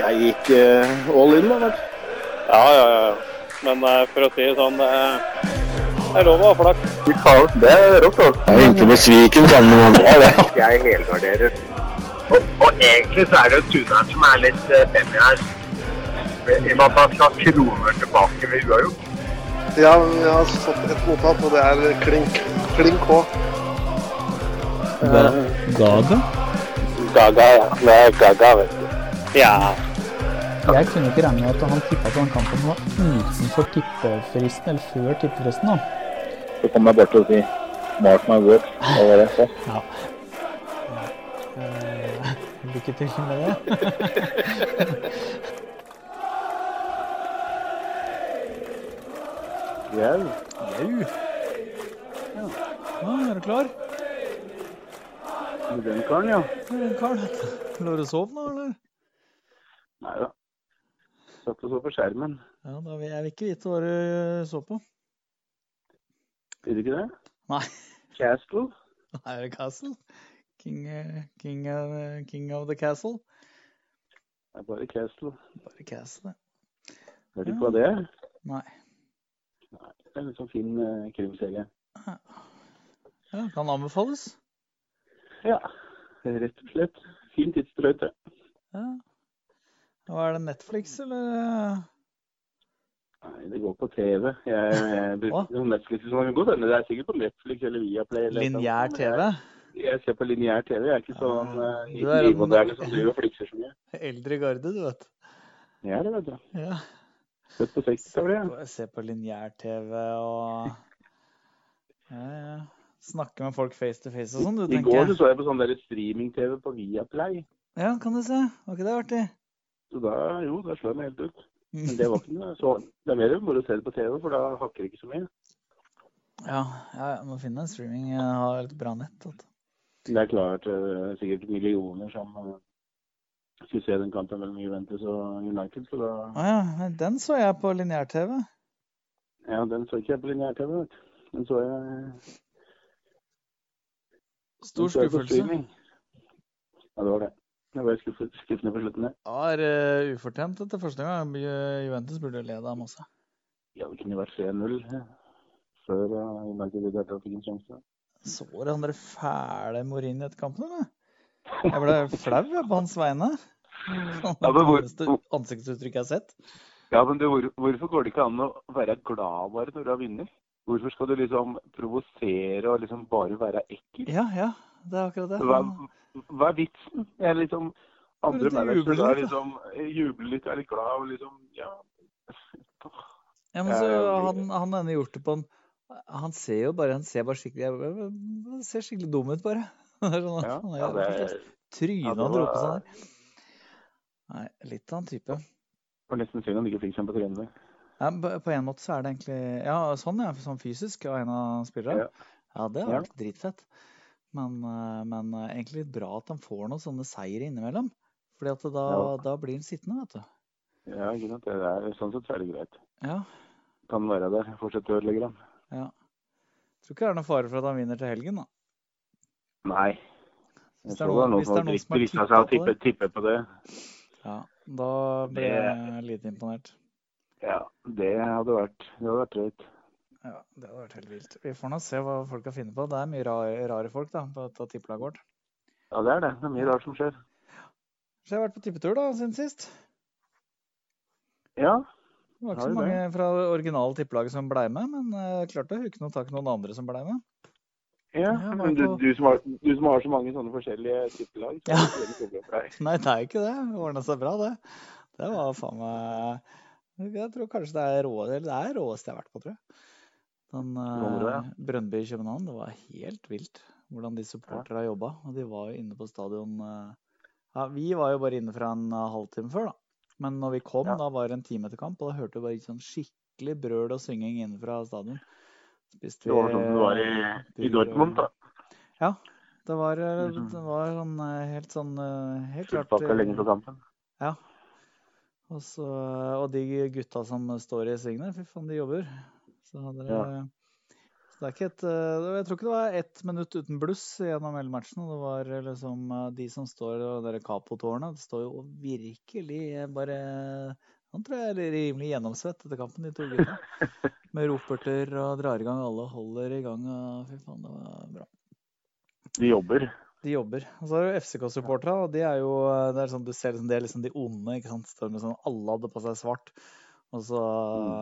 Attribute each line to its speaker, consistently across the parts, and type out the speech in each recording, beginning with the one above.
Speaker 1: jeg gikk eh, all in, da. vel.
Speaker 2: Ja, ja, ja. Men eh, for å si det sånn, eh, det er lov å ha flaks.
Speaker 3: Fy faen, det er rått, altså.
Speaker 4: Jeg begynte med sviken sammen med andre. det.
Speaker 3: Jeg helgarderer. Og, og egentlig så er det jo tuneren som er litt eh, femmer her. I og med at han skal ha kroner tilbake ved uavgjort.
Speaker 5: Ja, jeg har fått et mottatt, og det er klink. Klink H.
Speaker 6: Ga- Gaga?
Speaker 3: Gaga, ja. Det er gaga, vet du.
Speaker 2: Ja.
Speaker 7: Jeg kunne ikke regne med at han tippa på den kampen som var utenfor tippefristen, eller før tippefristen. da.
Speaker 3: Så kommer jeg bort og sier Mark my words. Det var det jeg sa.
Speaker 7: Eh, Lykke til med det.
Speaker 6: Jau. Ja. ja, er du klar?
Speaker 1: Den karen, ja.
Speaker 6: Er du klar? Klarer du å sove nå, eller?
Speaker 1: Nei da. Satt og så på skjermen.
Speaker 6: Ja, da vil jeg ikke vite hva du eh, så på.
Speaker 1: Gjør du ikke det?
Speaker 6: Nei.
Speaker 1: Castle?
Speaker 6: Nei, er det Castle? King, eh, king, eh, king of the Castle?
Speaker 1: Det er bare Castle.
Speaker 6: Bare Castle,
Speaker 1: Hører du ikke hva det er?
Speaker 6: Nei.
Speaker 1: Det er en sånn fin eh, krimserie.
Speaker 6: ja. Kan anbefales.
Speaker 1: Ja, rett og slett. Fin tidsdrøyte.
Speaker 6: Ja. Hva er det, Netflix, eller? eh,
Speaker 1: Nei, det går på TV. Jeg, jeg
Speaker 6: Hva?
Speaker 1: bruker Netflix som er godt, men det er sikkert på Netflix eller Viaplay. Eller et eller
Speaker 6: Lineær
Speaker 1: annet, men
Speaker 6: TV?
Speaker 1: Jeg, jeg ser på lineær TV. Jeg er ikke sånn uh,
Speaker 6: Ah, Du er en-
Speaker 1: nymoderne som driver og flikser så mye.
Speaker 6: Eldre garde, du vet.
Speaker 1: Jeg er det, vet du.
Speaker 6: Ja.
Speaker 1: Født på 60-tallet.
Speaker 6: på, se på lineær-TV og ja, ja. Snakke med folk face to face og sånn, du,
Speaker 1: jeg. I
Speaker 6: tenker
Speaker 1: går så
Speaker 6: jeg.
Speaker 1: så jeg på sånn der streaming-TV på Viaplay.
Speaker 6: Ja, kan du se. Var ikke det artig?
Speaker 1: Så da, jo, da slår jeg meg helt ut. Men det var ikke noe så Det er mer moro å se det på TV, for da hakker det ikke så mye.
Speaker 6: Ja, ja, jeg må finne en streaming. Jeg har et bra nett. Vet. du.
Speaker 1: Men Det er klart eh, sikkert millioner som eh, skulle se den kampen mellom Juventus og United, så da
Speaker 6: Å ja, men den så jeg på lineær-TV.
Speaker 1: Ja, den så ikke jeg på lineær-TV. vet du. Den så jeg den
Speaker 6: Stor
Speaker 1: så jeg på
Speaker 6: skuffelse.
Speaker 1: streaming. Ja, det var det. Jeg ble skuffet, skuffende på slutten. jeg.
Speaker 6: Ja, er eh, ufortjent etter første gang. Ju- Juventus burde lede av Mossa.
Speaker 1: Ja, det kunne vært 3-0 før eh, United i det hele tatt fikk en sjanse.
Speaker 6: Så du han der fæle Morin etter kampen, eller? Jeg ble flau jeg, på hans vegne. Det
Speaker 1: Ja,
Speaker 6: er det
Speaker 1: men hvor-
Speaker 6: dummeste ansiktsuttrykket jeg har sett.
Speaker 1: Ja, men du, hvor, hvorfor går det ikke an å være glad bare når du har vunnet? Hvorfor skal du liksom provosere og liksom bare være ekkel?
Speaker 6: Ja, ja. Det er akkurat det.
Speaker 1: Hva, hva er vitsen? Jeg er liksom
Speaker 6: Bare
Speaker 1: Andre
Speaker 6: du
Speaker 1: managere
Speaker 6: jubler
Speaker 1: da
Speaker 6: litt,
Speaker 1: liksom jubler litt, er litt glad og liksom Ja.
Speaker 6: Ja, men så
Speaker 1: Eh,
Speaker 6: han, han ene gjort det på en Han ser jo bare han ser bare skikkelig jeg- jeg- jeg- Han ser skikkelig dum ut, bare. Det er sånn,
Speaker 1: ja,
Speaker 6: han er
Speaker 1: ja det
Speaker 6: rett og slett Trynet
Speaker 1: ja, det
Speaker 6: han dro på
Speaker 1: var-
Speaker 6: seg der. Nei, litt av en type.
Speaker 1: var nesten synd han ikke fikk seg på trening.
Speaker 6: Ja, b- på en måte så er det egentlig Ja, sånn, ja. Sånn fysisk av en av spillerne. Ja, det
Speaker 1: Ja.
Speaker 6: har vært dritfett. Men, eh, men eh, egentlig litt bra at han får noen sånne seire innimellom. Fordi at da,
Speaker 1: Ja.
Speaker 6: da blir han sittende, vet du.
Speaker 1: Ja, ikke sant. Det er, sånn sett så er det greit.
Speaker 6: Ja.
Speaker 1: Kan være der. Fortsette å ødelegge ham.
Speaker 6: Tror ikke det er noen fare for at han vinner til helgen, da.
Speaker 1: Nei. Jeg
Speaker 6: Hvis det
Speaker 1: tror
Speaker 6: er
Speaker 1: det er
Speaker 6: noen-
Speaker 1: noen
Speaker 6: hvis
Speaker 1: som
Speaker 6: det er
Speaker 1: har
Speaker 6: noen
Speaker 1: dritt-
Speaker 6: som har
Speaker 1: drista seg
Speaker 6: tippet
Speaker 1: og
Speaker 6: på det.
Speaker 1: tippet, tippet på det.
Speaker 6: Ja, da ble jeg lite imponert.
Speaker 1: Ja, det hadde vært Det hadde vært drøyt.
Speaker 6: Ja, det hadde vært helt vilt. Vi får nå se hva folk kan finne på. Det er mye rare, rare folk da, på dette tippelaget vårt.
Speaker 1: Ja, det er det. Det er mye rart som skjer.
Speaker 6: Så jeg har vært på tippetur da, siden sist.
Speaker 1: Ja.
Speaker 6: Det var ikke
Speaker 1: Har
Speaker 6: så
Speaker 1: du
Speaker 6: mange fra det originale tippelaget som blei med, men eh, klarte å huke noe tak i noen andre som blei med.
Speaker 1: ja.
Speaker 6: Ja,
Speaker 1: Men du,
Speaker 6: bare på-
Speaker 1: du, som har, du som har så mange sånne forskjellige tippelag, så
Speaker 6: Ja.
Speaker 1: er det veldig problem for deg.
Speaker 6: Nei, det er jo ikke det. Det ordna seg bra, det. Det var faen meg Jeg tror kanskje det er rå, eller det er råeste jeg har vært på, tror jeg. Den
Speaker 1: Nå,
Speaker 6: uh,
Speaker 1: ja.
Speaker 6: Brøndby i København, det var helt vilt hvordan de supporterne jobba. Og de var jo inne på stadion eh, Ja, vi var jo bare inne fra en eh, halvtime før, da. Men når vi kom,
Speaker 1: Ja.
Speaker 6: da var det en time etter kamp, og da hørte vi bare sånn skikkelig brøl og synging inne fra stadion. Spiste
Speaker 1: Det var sånn som det var i, i Dortmund, da.
Speaker 6: Ja. Det var, eh,
Speaker 1: Liksom.
Speaker 6: det var sånn eh, helt sånn eh, Helt klart
Speaker 1: Fullpakka
Speaker 6: eh,
Speaker 1: lenge før kampen.
Speaker 6: og, så, og de gutta som står i svingene, fy faen, de jobber. Så hadde det,
Speaker 1: Ja.
Speaker 6: så Så det er ikke et, eh, jeg tror ikke det var ett minutt uten bluss gjennom hele matchen. og Det var eh, liksom eh, de som står og dere Capo-tårnet. Det står jo virkelig eh, bare Han tror jeg er rimelig gjennomsvett etter kampen, de to gutta. Med roperter og drar i gang alle, holder i gang og fy faen, det var bra.
Speaker 1: De jobber.
Speaker 6: De jobber. Og så er det FCK-supporterne, og de er jo det er sånn, Du ser liksom, det er liksom de onde. ikke sant? Står med sånn, Alle hadde på seg svart. Og så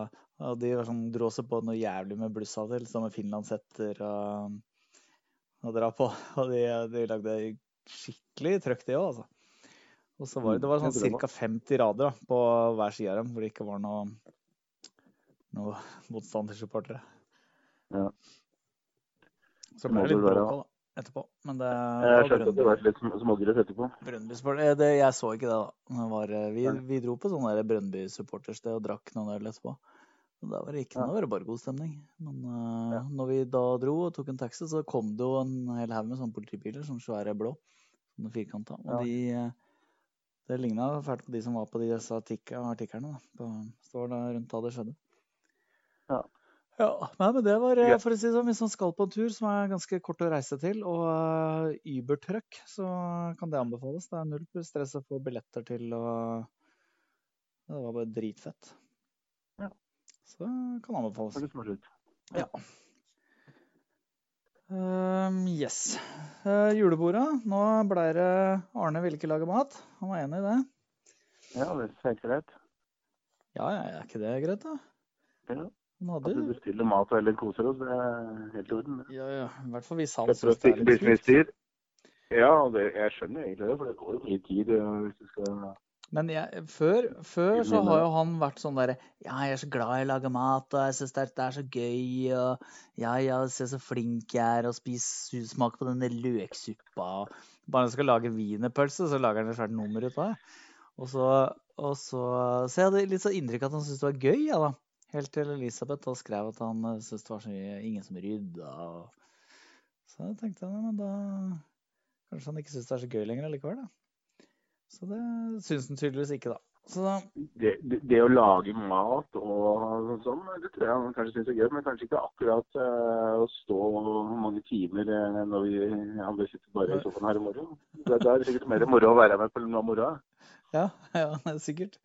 Speaker 1: Mm.
Speaker 6: og De var sånn, dro også på noe jævlig med blussa til, sånn med finlandshetter og, og dra på. Og de, de lagde skikkelig trøkk, det òg, altså. Og så var det, det var
Speaker 1: Mm, jeg
Speaker 6: sånn
Speaker 1: tror det
Speaker 6: ca. 50 rader da, på hver side av dem, hvor det ikke var noe, noe motstandersupportere.
Speaker 1: Ja.
Speaker 6: Så
Speaker 1: må
Speaker 6: ble det
Speaker 1: det
Speaker 6: litt
Speaker 1: være,
Speaker 6: bråk da, etterpå. Men det
Speaker 1: Jeg
Speaker 6: var
Speaker 1: skjønte at det var litt sm- smågress etterpå.
Speaker 6: Brøndby-supporter eh, det- Jeg så ikke det, da. Men det var, eh, vi, vi dro på sånn der Brøndby-supportersted og drakk noen øl etterpå. Og der var det ikke noe, det var bare god stemning. Men eh, når vi da dro og tok en taxi, så kom det jo en hel haug med sånne politibiler, sånne svære blå. Sånne firkanta. Og de eh, Det ligna fælt på de som var på disse tikk- artiklene, da. På, så det var da rundt da det skjedde.
Speaker 1: Ja.
Speaker 6: Ja, nei, men det var, eh,
Speaker 1: Greit.
Speaker 6: for å si det sånn, Hvis man skal på en tur som er ganske kort å reise til, og eh, Uber-truck, så kan det anbefales. Det er null stress å få billetter til og Det var bare dritfett.
Speaker 1: Ja.
Speaker 6: Så det kan anbefales.
Speaker 1: Hørtes smart ut.
Speaker 6: Ehm, yes. Eh, julebordet. Nå blei det Arne ville ikke lage mat. Han var enig i det.
Speaker 1: Ja, det er helt greit.
Speaker 6: Ja, ja, er ikke det greit, da?
Speaker 1: Ja.
Speaker 6: Han
Speaker 1: At
Speaker 6: hadde
Speaker 1: vi bestiller mat og heller koser oss, det er helt i orden.
Speaker 6: Ja, ja. I hvert fall hvis han
Speaker 1: Slipper å
Speaker 6: syns det er
Speaker 1: stikke
Speaker 6: litt kult.
Speaker 1: businessdyr. Ja, og det, jeg skjønner egentlig det, for det går jo mye tid eh, hvis du skal
Speaker 6: Men jeg, før, før så
Speaker 1: Innimellom.
Speaker 6: har jo han vært sånn derre Ja, jeg er så glad i å lage mat, og jeg syns det, er- det er så gøy, og ja, ja, se så flink jeg er, og spis smak på denne løksuppa. og Bare han skal lage wienerpølse, så lager han et svært nummer ut av det. Og så, og så Så jeg hadde litt sånn inntrykk av at han syntes det var gøy, ja da. Helt til Elisabeth da skrev at han eh, syntes det var så mye ingen som rydda og Så jeg tenkte jeg, men da Kanskje han ikke syns det er så gøy lenger allikevel, da. Så det syns han tydeligvis ikke, da. Så da
Speaker 1: det, det, det å lage mat og sånn, det tror jeg han kanskje syns er gøy. Men kanskje ikke akkurat eh, å stå mange timer eh, når vi andre sitter bare i sofaen her i morgen. Da da er det sikkert mer moro å være med på noe av moroa.
Speaker 6: Ja, ja sikkert.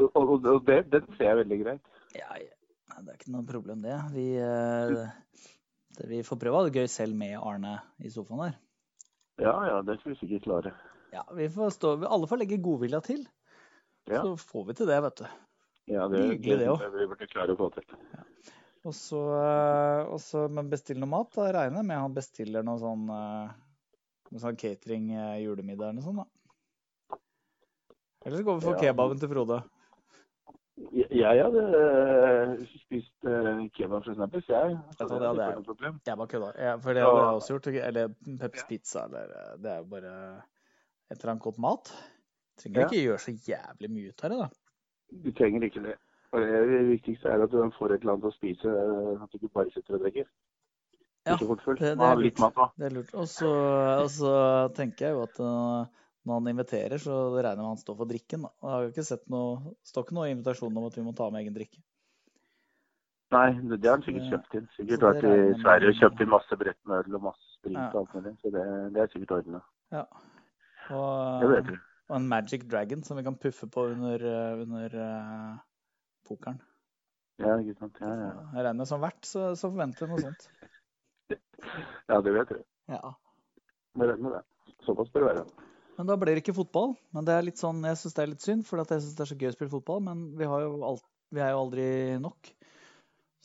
Speaker 1: Og, og, og det, den ser jeg veldig greit.
Speaker 6: Ja, ja. Nei, det er ikke noe problem, det. Vi, eh, det, vi får prøve å ha det gøy selv med Arne i sofaen der.
Speaker 1: Ja ja, det skal vi sikkert klare.
Speaker 6: Ja, vi får stå, vi alle får legge godvilja til.
Speaker 1: Ja.
Speaker 6: Så får vi til det, vet du.
Speaker 1: Ja, det,
Speaker 6: Hyggelig det også.
Speaker 1: vi burde klare å få til.
Speaker 6: Og så, eh, og så men bestill noe mat. Da regner jeg med han bestiller noe sånn, eh, noe sånn catering eh, julemiddag eller noe sånt, da. Eller så går vi for
Speaker 1: Ja.
Speaker 6: kebaben til Frode.
Speaker 1: Jeg, jeg hadde eh, spist eh, kebab fra Snappis, jeg.
Speaker 6: Jeg
Speaker 1: Så
Speaker 6: tror
Speaker 1: det hadde
Speaker 6: det er
Speaker 1: ikke vært noe problem.
Speaker 6: Jeg bare kødda. Jeg- For det
Speaker 1: Ja.
Speaker 6: hadde jeg også gjort. ikke? Eller Peps Pizza, eller eh, Det er jo bare et eller annet godt mat. Trenger
Speaker 1: Ja.
Speaker 6: ikke gjøre så jævlig mye ut av det, da.
Speaker 1: Du trenger ikke det. Og det det viktigste er at du får et eller annet å spise, eh, at du ikke bare sitter og drikker.
Speaker 6: Ja,
Speaker 1: ikke fort full.
Speaker 6: det- det
Speaker 1: Må ha
Speaker 6: er lurt.
Speaker 1: litt mat da.
Speaker 6: Det er lurt. Og så, og så tenker jeg jo at eh, når han inviterer, så regner jeg med han står for drikken. Da. Jeg har jo ikke sett noe, står ikke noe i invitasjonen om at vi må ta med egen drikke.
Speaker 1: Nei, det, det har han sikkert
Speaker 6: Så-
Speaker 1: kjøpt inn. Sikkert
Speaker 6: så det
Speaker 1: vært i
Speaker 6: regner jeg med-
Speaker 1: Sverige og kjøpt inn masse brett med øl og masse sprit
Speaker 6: Ja.
Speaker 1: og alt mulig. Så det, det er sikkert ordna. Det
Speaker 6: Og,
Speaker 1: vet du.
Speaker 6: og en Magic Dragon som vi kan puffe på under, eh, under eh, pokeren.
Speaker 1: Ja, ikke sant. Ja, ja.
Speaker 6: Jeg regner som vert, så, så forventer jeg noe sånt.
Speaker 1: ja, det vet du.
Speaker 6: Ja.
Speaker 1: Må regne med det. Såpass bør det være.
Speaker 6: Men da blir det ikke fotball. Men det er litt sånn, jeg syns det er litt synd, for jeg syns det er så gøy å spille fotball. Men vi, har jo alt, vi er jo aldri nok.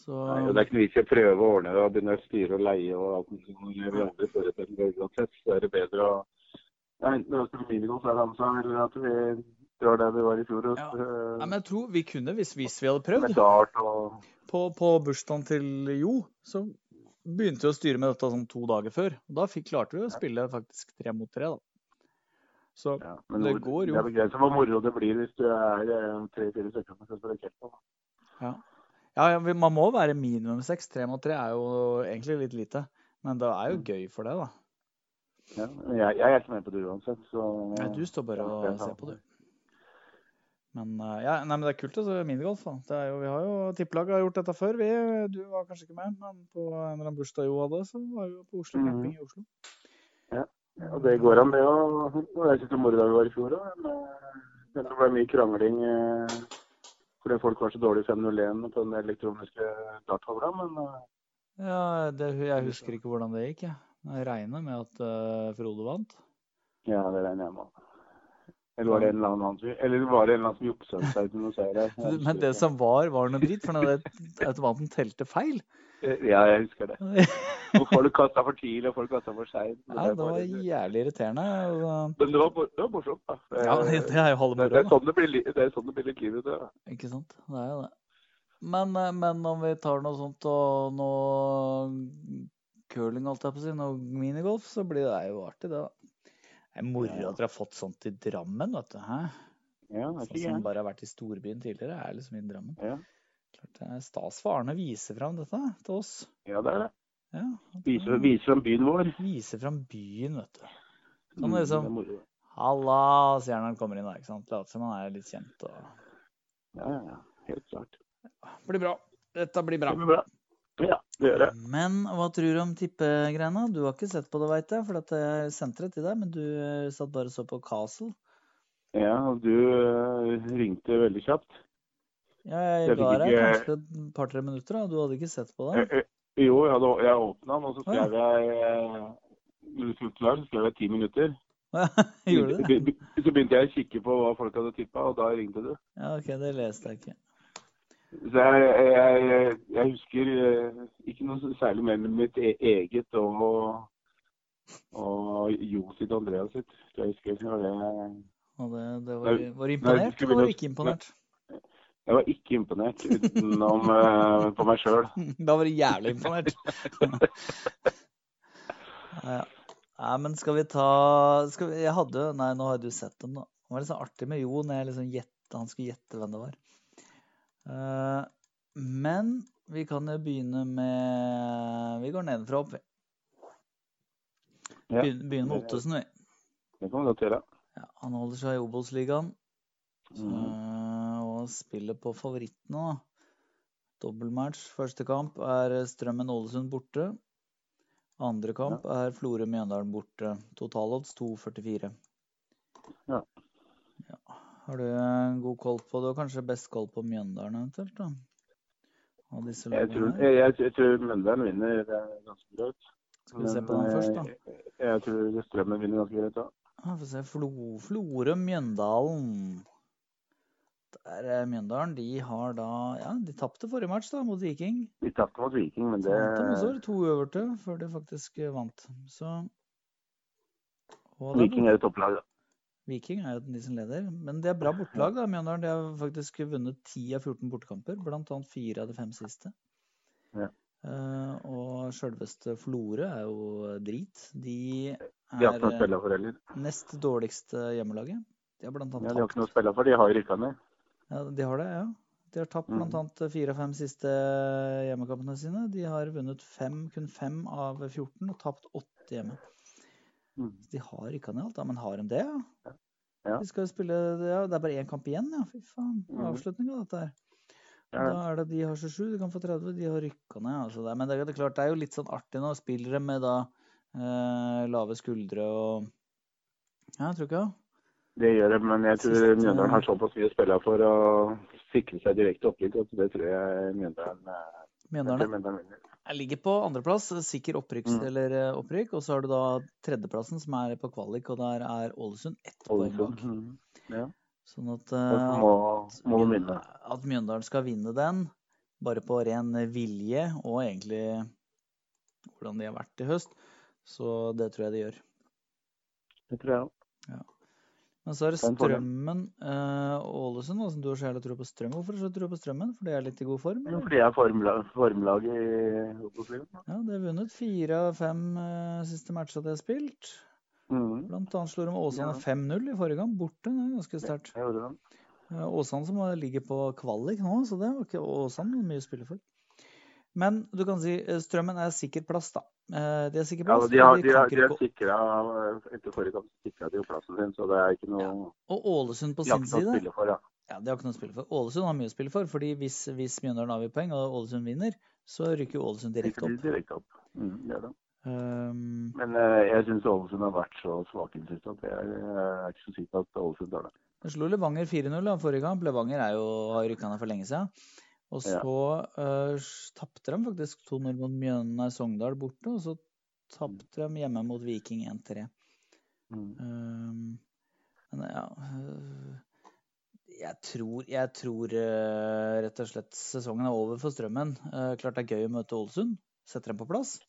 Speaker 6: Så
Speaker 1: Nei, og det er ikke noe vits i å prøve å ordne det og begynne å styre og leie og alt mulig sånn. Vi andre forutsetter det uansett. Så er det bedre å ja, Enten det er å spille minigolf eller ansvar, eller at vi drar der vi var i fjor og
Speaker 6: Ja.
Speaker 1: eh,
Speaker 6: Nei, men jeg tror vi kunne, hvis, hvis vi hadde prøvd.
Speaker 1: med dart og
Speaker 6: på, på bursdagen til Jo, så begynte vi å styre med dette sånn to dager før. Og da fikk, klarte vi å spille faktisk tre mot tre, da. Så
Speaker 1: Ja, men
Speaker 6: Det
Speaker 1: hvor-
Speaker 6: går jo.
Speaker 1: Det er begrenset hvor moro det blir hvis du er tre-fire stykker som skal spille kebab.
Speaker 6: ja, ja, vi- man må være minimum seks. Tre mot tre er jo egentlig litt lite. Men det
Speaker 1: Mm.
Speaker 6: er jo gøy for det, da.
Speaker 1: Ja, men jeg, jeg er ikke med på det uansett, så
Speaker 6: Nei, du står
Speaker 1: Ja,
Speaker 6: bare og
Speaker 1: det er
Speaker 6: ser
Speaker 1: sant.
Speaker 6: på, du. Men eh, ja, nei, men det er kult, altså. Minigolf. da. Det er jo, vi har jo tippelaget har gjort dette før. Vi, du var kanskje ikke med, men på en eller annen bursdag Jo hadde, så var vi jo på Oslo
Speaker 1: Mhm.
Speaker 6: camping i Oslo.
Speaker 1: Og det går an, det òg. Jeg syns det var moro da vi var i fjor òg. Men eh, men det ble mye krangling eh, fordi folk var så dårlige i 501 på den elektroniske darttavla. Men eh,
Speaker 6: Ja, det, jeg husker ikke hvordan det gikk, jeg. Jeg regner med at eh, Frode vant.
Speaker 1: ja, det regner jeg med. Eller var det en eller annen annen som- eller var det en eller annen som juksa seg til noen seier? Jeg husker
Speaker 6: Men det
Speaker 1: ikke.
Speaker 6: som var, var noe dritt, for den der automaten telte feil.
Speaker 1: Eh, Ja, jeg husker det.
Speaker 6: Nei,
Speaker 1: Og folk kasta for tidlig, og folk kasta for seint.
Speaker 6: det var jævlig irriterende. og
Speaker 1: Men det var, mor- det var morsomt, da.
Speaker 6: da- Ja, det er jo halve
Speaker 1: det, det,
Speaker 6: moroa,
Speaker 1: er
Speaker 6: da.
Speaker 1: sånn det, blir, li- det er sånn det blir litt liv ute. da.
Speaker 6: Ikke sant? Det er jo det. Men, eh, men om vi tar noe sånt og noe curling, holdt jeg på å si, noe minigolf, så blir det, det er jo artig, det, da. Det er moro
Speaker 1: Ja.
Speaker 6: at dere har fått sånt i Drammen, vet du. Hæ?
Speaker 1: Ja, det er
Speaker 6: Sånn
Speaker 1: ikke
Speaker 6: som
Speaker 1: gærent.
Speaker 6: bare har vært i storbyen tidligere, er liksom i Drammen.
Speaker 1: Ja.
Speaker 6: Klart det er stas for Arne å vise fram dette til oss.
Speaker 1: Ja, det er det.
Speaker 6: Ja, at
Speaker 1: Viser,
Speaker 6: han
Speaker 1: viser fram byen vår.
Speaker 6: viser fram byen, vet du.
Speaker 1: Mm,
Speaker 6: Kan
Speaker 1: det er
Speaker 6: liksom
Speaker 1: moro.
Speaker 6: 'Halla', sier han når han kommer inn der. ikke sant? Later som han er litt kjent. og...
Speaker 1: Ja, ja, ja. Helt klart.
Speaker 6: Blir bra. Dette blir bra.
Speaker 1: Det blir bra. Ja, det gjør det.
Speaker 6: Men hva tror du om tippegreiene? Du har ikke sett på det, veit jeg, for at jeg sendte det til deg, men du eh, satt bare og så på Castle.
Speaker 1: Ja, og du eh, ringte veldig kjapt.
Speaker 6: Ja, jeg
Speaker 1: Jeg
Speaker 6: ga
Speaker 1: fikk
Speaker 6: deg
Speaker 1: ikke-
Speaker 6: kanskje et par-tre minutter, da. Du hadde ikke sett på
Speaker 1: Eh,
Speaker 6: det?
Speaker 1: eh, Jo, jeg, hadde, jeg åpna den, og så
Speaker 6: Å, ja.
Speaker 1: skrev jeg eh, når du skulle klare, så skrev jeg ti minutter.
Speaker 6: Gjorde du det?
Speaker 1: Be- be- Så begynte jeg å kikke på hva folk hadde tippa, og da ringte du.
Speaker 6: Ja, OK, det leste jeg ikke.
Speaker 1: Så jeg, jeg, jeg, jeg husker eh, ikke noe særlig mellom mitt e eget og, og Jo sitt og Andreas sitt. Så Jeg husker ikke hva det
Speaker 6: Og det, det var,
Speaker 1: Nei, nei,
Speaker 6: var du
Speaker 1: vi
Speaker 6: imponert,
Speaker 1: skulle
Speaker 6: eller
Speaker 1: begynne å-
Speaker 6: var du ikke imponert?
Speaker 1: Jeg var ikke imponert utenom eh, på meg sjøl.
Speaker 6: Da var du jævlig imponert. ja. Nei, men skal vi ta skal vi, Jeg hadde jo Nei, nå har du sett dem, da. Det var litt sånn artig med Jo når jeg liksom gjette, han skulle gjette hvem det var. Eh, men vi kan jo begynne med Vi går nedenfra og opp, vi.
Speaker 1: Ja.
Speaker 6: Begynner, begynner med Ottesen, vi.
Speaker 1: Det kan vi godt gjøre.
Speaker 6: Ja, han holder seg i Obos-ligaen. Så- eh,
Speaker 1: Mm.
Speaker 6: Og spiller på favorittene, da. Dobbeltmatch. Første kamp er Strømmen Ålesund borte. Andre kamp er Florø Mjøndalen borte. Totalodds 2,44.
Speaker 1: Ja.
Speaker 6: Ja. Har du en god koll på Du har kanskje best koll på Mjøndalen eventuelt, da? Av disse
Speaker 1: Jeg tror,
Speaker 6: lagene her.
Speaker 1: jeg, jeg, jeg tror Mjøndalen vinner eh, ganske greit.
Speaker 6: Skal vi se
Speaker 1: Men,
Speaker 6: på den
Speaker 1: eh,
Speaker 6: først, da?
Speaker 1: Jeg, jeg tror Strømmen vinner ganske greit òg.
Speaker 6: Ja, Få Ah, se. Flo, Florø Mjøndalen. Der er Mjøndalen. De har da Ja, de tapte forrige match da, mot Viking.
Speaker 1: De tapte mot Viking, men
Speaker 6: Så vant de også
Speaker 1: det
Speaker 6: eller to øverte før de faktisk eh, vant. Så og det er
Speaker 1: Viking
Speaker 6: bort-
Speaker 1: er et topplag, da.
Speaker 6: Viking er jo de som leder. Men de er bra bortelag, da, Mjøndalen. De har faktisk vunnet 10 av 14 bortekamper, blant annet fire av de fem siste.
Speaker 1: Ja.
Speaker 6: Eh, og sjølveste Florø er jo drit. De er
Speaker 1: De har ikke noe å spille for heller.
Speaker 6: eh, nest dårligste hjemmelaget. De har blant
Speaker 1: Ja,
Speaker 6: annet
Speaker 1: de har ikke noe å
Speaker 6: tapt
Speaker 1: spille for, de har jo rykka ned.
Speaker 6: Ja, de har det, ja. De har tapt
Speaker 1: Mm.
Speaker 6: blant annet fire av fem siste hjemmekampene sine. De har vunnet fem, kun fem av 14 og tapt åtte hjemme.
Speaker 1: Mm.
Speaker 6: De har rykka ned alt, da, men har de det? Ja.
Speaker 1: Ja.
Speaker 6: De skal jo spille, ja, det er bare én kamp igjen, ja. Fy faen.
Speaker 1: Mhm.
Speaker 6: Avslutning av dette her.
Speaker 1: Ja,
Speaker 6: Da er det de har 27, de kan få 30. De har rykka ned. Altså det. er- Men det er, det er klart, det er jo litt sånn artig nå. Spillere med da eh, lave skuldre og Ja, tror du ikke det?
Speaker 1: Det gjør det, men jeg tror
Speaker 6: Siste- eh,
Speaker 1: Mjøndalen har såpass mye å spille for å sikre seg direkte opprykk. at Det tror jeg Mjøndalen eh, jeg
Speaker 6: Mjøndalen
Speaker 1: tror Mjøndalen vinner.
Speaker 6: Jeg ligger på andreplass, sikker opprykks,
Speaker 1: Mm.
Speaker 6: eller eh, opprykk. Og så har du da tredjeplassen, som er på kvalik, og der er Ålesund ett poeng
Speaker 1: Ålesund.
Speaker 6: bak.
Speaker 1: Mhm.
Speaker 6: Sånn
Speaker 1: Og
Speaker 6: at, eh,
Speaker 1: så Må, må de vinne.
Speaker 6: at Mjøndalen skal vinne den, bare på ren vilje, og egentlig hvordan de har vært i høst, så det tror jeg de gjør.
Speaker 1: Det tror jeg òg.
Speaker 6: Men så er det
Speaker 1: Den får de.
Speaker 6: Strømmen eh, og Ålesund, da, som du har så jævla tro på Strømmen. Hvorfor har du så tro på Strømmen? For de er litt i god form? eller?
Speaker 1: Fordi jeg er formla- formlaget i Obos-ligaen.
Speaker 6: Ja, de har vunnet fire av fem eh, siste matcha de har spilt.
Speaker 1: Mhm.
Speaker 6: Blant annet slår de Åsane
Speaker 1: Ja.
Speaker 6: 5-0 i forrige kamp, borte. Det er ganske sterkt.
Speaker 1: Jeg gjorde det.
Speaker 6: Eh, Åsane som ligger på kvalik nå, så det var ikke Åsane mye å spille for. Men du kan si eh, Strømmen er sikker plass, da. Eh, De er sikker
Speaker 1: Ja,
Speaker 6: plass.
Speaker 1: og de har,
Speaker 6: og
Speaker 1: de har,
Speaker 6: kan
Speaker 1: de
Speaker 6: ikke
Speaker 1: har
Speaker 6: gå-
Speaker 1: sikra etter forrige kamp sikra de jo plassen sin, så det er ikke noe
Speaker 6: og Ålesund på
Speaker 1: de har
Speaker 6: sin
Speaker 1: ikke noe å
Speaker 6: side
Speaker 1: spille for. Ja.
Speaker 6: Ja, Det har ikke noe å spille for. Ålesund har mye å spille for. fordi hvis, hvis Mjøndalen avgir poeng og Ålesund vinner, så rykker jo Ålesund direkte
Speaker 1: Ikke
Speaker 6: opp.
Speaker 1: direkte opp. Mm, det er det.
Speaker 6: Ehm,
Speaker 1: Men eh, jeg syns Ålesund har vært så svake i det siste at jeg eh, er ikke så sikker på at Ålesund tar det.
Speaker 6: De slo Levanger 4-0 da, forrige kamp. Levanger er jo, har rykka ned for lenge siden. Og
Speaker 1: Ja.
Speaker 6: så eh, s- tapte de faktisk 2-0 mot Mjøndalen Sogndal borte, og så tapte de hjemme mot Viking 1-3.
Speaker 1: Mm.
Speaker 6: Ehm, men ja øh, Jeg tror, jeg tror eh, rett og slett sesongen er over for Strømmen. Eh, klart det er gøy å møte Ålesund. Setter dem på plass.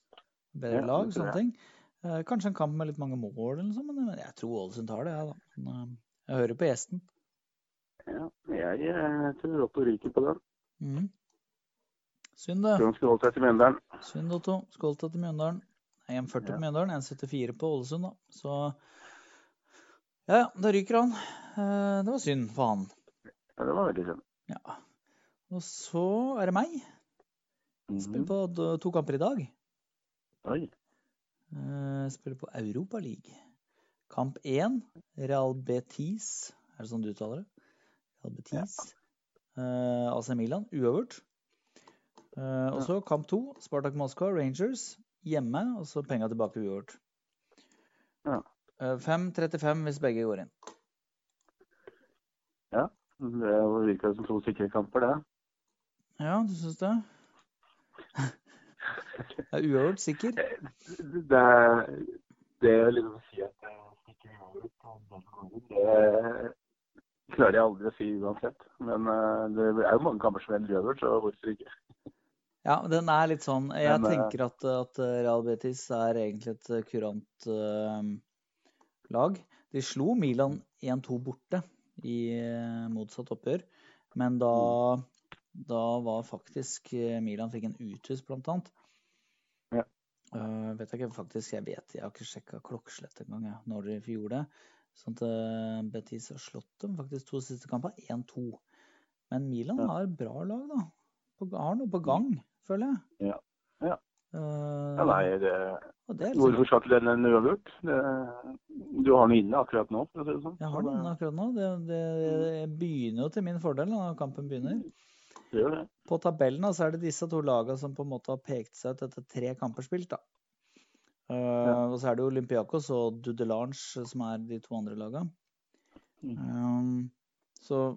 Speaker 6: Bedre
Speaker 1: Ja,
Speaker 6: lag,
Speaker 1: det tror
Speaker 6: sånne ting. Eh, kanskje en kamp med litt mange mål, eller noe sånt, men jeg tror Ålesund tar det, jeg, da. Men, eh, jeg hører på gjesten.
Speaker 1: Ja, jeg eh, tror Otto ryker på den.
Speaker 6: Mhm. Synd, det.
Speaker 1: Tror han skulle holdt seg til Mjøndalen.
Speaker 6: Synd, Otto. Skål til til Mjøndalen. Nei, 1,40 på Mjøndalen, 1,74 på Ålesund, da. Så ja, ja, da ryker han. Eh, det var synd for han.
Speaker 1: Ja, det var veldig synd.
Speaker 6: Ja. Og så er det meg.
Speaker 1: Mhm.
Speaker 6: Spiller på d- to kamper i dag.
Speaker 1: Mm. Oi.
Speaker 6: Eh, Spiller på Europa League. Kamp 1, Real Betis. Er det sånn du uttaler det? Real Betis. Eh, AC Milan, uavgjort. Eh, og så kamp 2, Spartak Moskva, Rangers. Hjemme, og så penga tilbake uavgjort.
Speaker 1: Ja.
Speaker 6: Eh, 5-35 hvis begge går inn.
Speaker 1: Det virka som to sikre kamper, det.
Speaker 6: Ja, du syns det? det er uavgjort, sikker?
Speaker 1: Det, det å liksom si at jeg stikker uavgjort og den går inn, det klarer jeg aldri å si uansett. Men eh, det er jo mange kamper som ender uavgjort, så hvorfor ikke?
Speaker 6: Ja, den er litt sånn. Jeg
Speaker 1: Men, eh,
Speaker 6: tenker at, at Real Betis er egentlig et kurant eh, lag. De slo Milan 1-2 borte i eh, motsatt oppgjør, men da,
Speaker 1: Mm.
Speaker 6: da var faktisk eh, Milan fikk en uthus, blant annet.
Speaker 1: Ja.
Speaker 6: Eh, vet jeg ikke, faktisk, jeg vet, jeg har ikke sjekka klokkeslett engang, jeg, når de gjorde det. Sånn at eh, Betis har slått dem faktisk to siste kamper, 1-2. Men Milan
Speaker 1: Ja.
Speaker 6: har bra lag, da. På- Har noe på gang, føler jeg. Eh,
Speaker 1: Ja, nei, det,
Speaker 6: Og det er liksom,
Speaker 1: hvorfor skal ikke den en uavgjort? Det, du har den inne akkurat nå, for å si det sånn.
Speaker 6: jeg har den akkurat nå. Det, det, det begynner jo til min fordel da, når kampen begynner.
Speaker 1: Det gjør det.
Speaker 6: På tabellen da, så er det disse to lagene som på en måte har pekt seg ut etter tre kamper spilt. da. Eh, Og så er det jo Olympiakos og Dudelange som er de to andre lagene. Um, så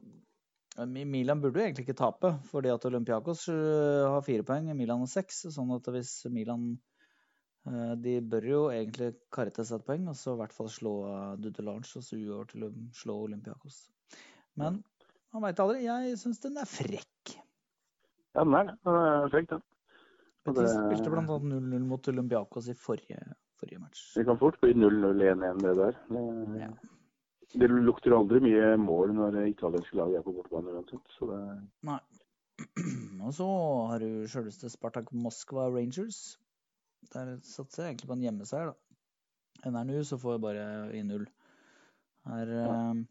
Speaker 6: eh, Mi- Milan burde jo egentlig ikke tape, fordi at Olympiakos eh, har fire poeng, Milan har seks. Sånn at hvis Milan eh, De bør jo egentlig karre til seg et poeng, og så i hvert fall slå eh, Dudelange, og så uover til å slå Olympiakos. Men man veit aldri. Jeg syns den er frekk.
Speaker 1: Ja, den er det. Den er frekk, den. Og
Speaker 6: De
Speaker 1: det-
Speaker 6: spilte bl.a. 0-0 mot Olympiakos i forrige, forrige match.
Speaker 1: Det kan fort bli 0-0-1-1, det der. Det,
Speaker 6: Ja.
Speaker 1: det lukter aldri mye mål når det italienske lag er på bortebane uansett. Så det,
Speaker 6: Og så har du sjølveste Spartak Moskva Rangers. Der satser jeg egentlig på en hjemmeseier, da. NR nå, så får jeg bare i null. Her eh,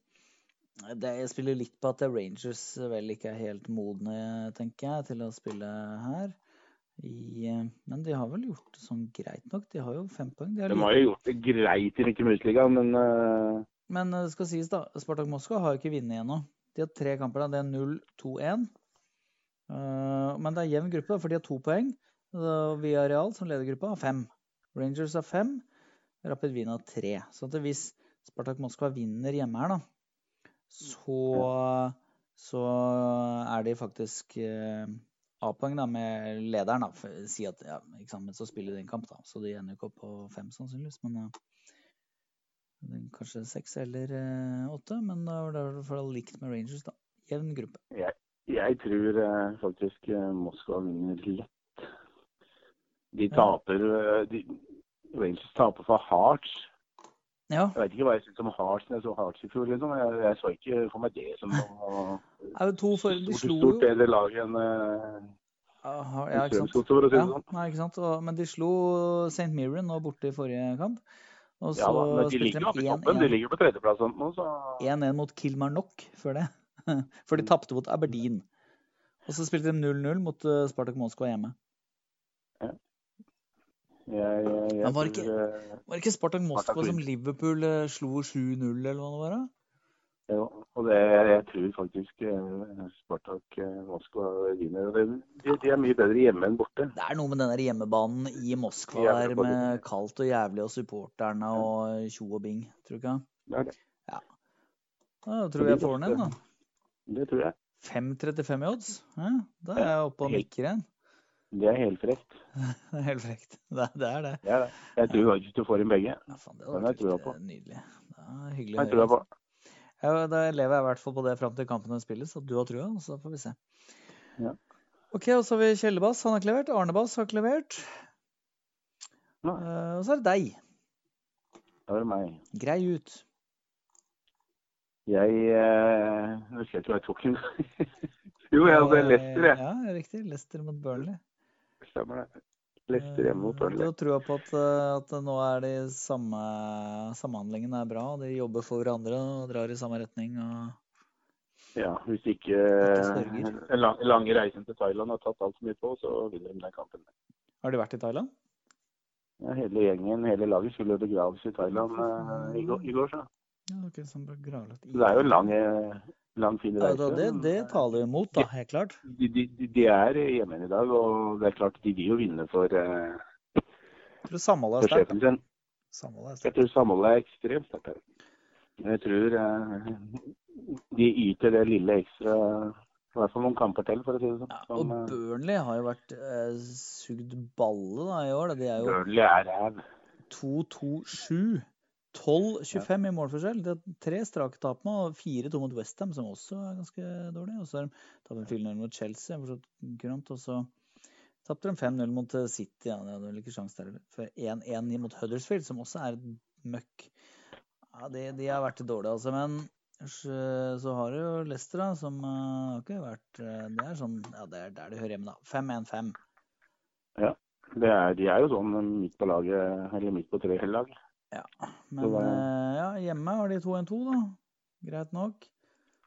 Speaker 6: det, Jeg spiller litt på at Rangers vel ikke er helt modne, tenker jeg, til å spille her. I, eh, men de har vel gjort det sånn greit nok. De har jo fem poeng. De har
Speaker 1: de har jo gjort det greit i Mikke Mus-ligaen, men eh,
Speaker 6: Men eh, det skal sies, da. Spartak Moskva har jo ikke vunnet ennå. De har tre kamper. da, Det er 0-2-1. Eh, men det er jevn gruppe, for de har to poeng. Og Via Real, som leder gruppa, har fem. Rangers har fem. Rapid Wien har tre. Så at hvis Spartak Moskva vinner hjemme her, da, så, så er de faktisk eh, A-poeng da, med lederen. da, for å si at, ja, ikke sant, men så spiller de en kamp, da. Så de ender jo ikke opp på fem, sannsynligvis. men... eh, den Kanskje seks eller eh, åtte, men da var det i hvert fall likt med Rangers, da. Jevn gruppe.
Speaker 1: jeg tror eh, faktisk eh, Moskva vinner lett. De taper eh, de, Rangers taper for Hearts.
Speaker 6: Ja.
Speaker 1: Jeg vet ikke hva jeg syns om Hearts når jeg så Hearts i fjor. Liksom. Jeg, jeg så ikke for meg det som noe
Speaker 6: Er det to for De
Speaker 1: stort,
Speaker 6: slo jo
Speaker 1: stort bedre lag enn eh,
Speaker 6: Aha, Ja, ikke sant.
Speaker 1: Strømsgodset, for å si
Speaker 6: Ja,
Speaker 1: det sånn.
Speaker 6: nei, ikke sant? Og, men de slo St. Mirren nå borte i forrige kamp. Og så
Speaker 1: Ja, da, men de ligger jo
Speaker 6: spilte
Speaker 1: oppe i toppen. De
Speaker 6: de
Speaker 1: ligger jo på tredjeplass sånn nå, så
Speaker 6: 1-1 mot Kilmarnock før det. For de tapte mot Aberdeen. Og så spilte de 0-0 mot eh, Spartak Moskva hjemme.
Speaker 1: jeg, jeg, jeg
Speaker 6: Men var
Speaker 1: tror,
Speaker 6: ikke-
Speaker 1: eh,
Speaker 6: Var det ikke Spartak Moskva
Speaker 1: Spartak
Speaker 6: som Liverpool eh, slo 7-0, eller hva det var? da?
Speaker 1: Jo, og det, jeg tror faktisk eh, Spartak eh, Moskva vinner. og det- De, de er mye bedre hjemme enn borte.
Speaker 6: Det er noe med den der hjemmebanen i Moskva
Speaker 1: Jævlig
Speaker 6: der
Speaker 1: på
Speaker 6: med kaldt og jævlig og supporterne og tjo og bing, tror du ikke?
Speaker 1: Det, er det.
Speaker 6: Da tror jeg får den en, da.
Speaker 1: det tror jeg.
Speaker 6: 5,35 i odds. Hæ? Da er jeg oppe og nikker igjen.
Speaker 1: Det er helt frekt.
Speaker 6: Det er helt frekt. Det, det er det.
Speaker 1: Det er det. Jeg tror faktisk du får inn begge.
Speaker 6: Ja, faen, det
Speaker 1: Den her
Speaker 6: hadde vært
Speaker 1: tror jeg
Speaker 6: helt,
Speaker 1: på.
Speaker 6: eh, nydelig. Det er hyggelig å
Speaker 1: Jeg tror
Speaker 6: høre.
Speaker 1: jeg på.
Speaker 6: Ja, da lever jeg i hvert fall på det fram til kampen spilles, at du har trua, så får vi se.
Speaker 1: Ja.
Speaker 6: OK, og så har vi Kjelle Bass, han har ikke levert. Arne Bass har ikke levert.
Speaker 1: Nei.
Speaker 6: Eh, og så er det deg.
Speaker 1: Da er det meg.
Speaker 6: Grei ut.
Speaker 1: Jeg eh, Nå husker jeg ikke hva jeg tok den. jo, jeg hadde Lester, jeg.
Speaker 6: eh, Ja, riktig. Leicester mot Burnley.
Speaker 1: Stemmer det. Lester hjemme mot
Speaker 6: Du
Speaker 1: Burnley.
Speaker 6: har trua Eh, på at, eh, at nå er de samme Samhandlingen er bra, de jobber for hverandre og drar i samme retning. og...
Speaker 1: Ja, hvis ikke
Speaker 6: Ikke
Speaker 1: eh,
Speaker 6: sørger.
Speaker 1: den lang, lange reisen til Thailand har tatt altfor mye på, så vinner de den kampen.
Speaker 6: Har de vært i Thailand?
Speaker 1: Ja, hele gjengen, hele laget, skulle begraves i Thailand eh, i, går, i går, så.
Speaker 6: Ja, ok, sånn bra gravlagt.
Speaker 1: Så Det er jo en lang, eh, lang fin
Speaker 6: Ja,
Speaker 1: reise.
Speaker 6: da, det,
Speaker 1: men,
Speaker 6: det
Speaker 1: eh,
Speaker 6: taler jo imot, da, helt klart.
Speaker 1: de, de, de- de er hjemme i dag, og det er klart de vil jo vinne for, eh,
Speaker 6: Jeg tror samholdet
Speaker 1: for
Speaker 6: er sterkt.
Speaker 1: sjefen sin.
Speaker 6: da. Samholdet er
Speaker 1: Jeg
Speaker 6: sterkt.
Speaker 1: tror samholdet er ekstremt sterkt. her. Men jeg tror eh, de yter det lille ekstra, i hvert fall noen kamper til, for å si det sånn.
Speaker 6: Ja, og
Speaker 1: Som, eh,
Speaker 6: Burnley har jo vært eh, sugd balle da, i år. da. De er jo
Speaker 1: Burnley er ræv.
Speaker 6: 2-2-7. 12-25 i målforskjell. Det er tre strake tap nå, og 4-2 mot Westham, som også er ganske dårlig. Og så har de tapt en 4-0 mot Chelsea, for så vidt kurant. Og så tapte de 5-0 mot eh, City. Ja, de hadde vel ikke sjans der. For 1-1 mot Huddersfield, som også er møkk. Ja, de, de har vært dårlige, altså. Men så så har du jo Leicester, da, som eh, har ikke vært eh, Det er sånn Ja, det er der det hører hjemme, da. 5-1-5.
Speaker 1: Det er, de er jo sånn midt på laget, eller midt på tre lag.
Speaker 6: Men
Speaker 1: var-
Speaker 6: eh, ja, hjemme har de 2-1-2, da. Greit nok.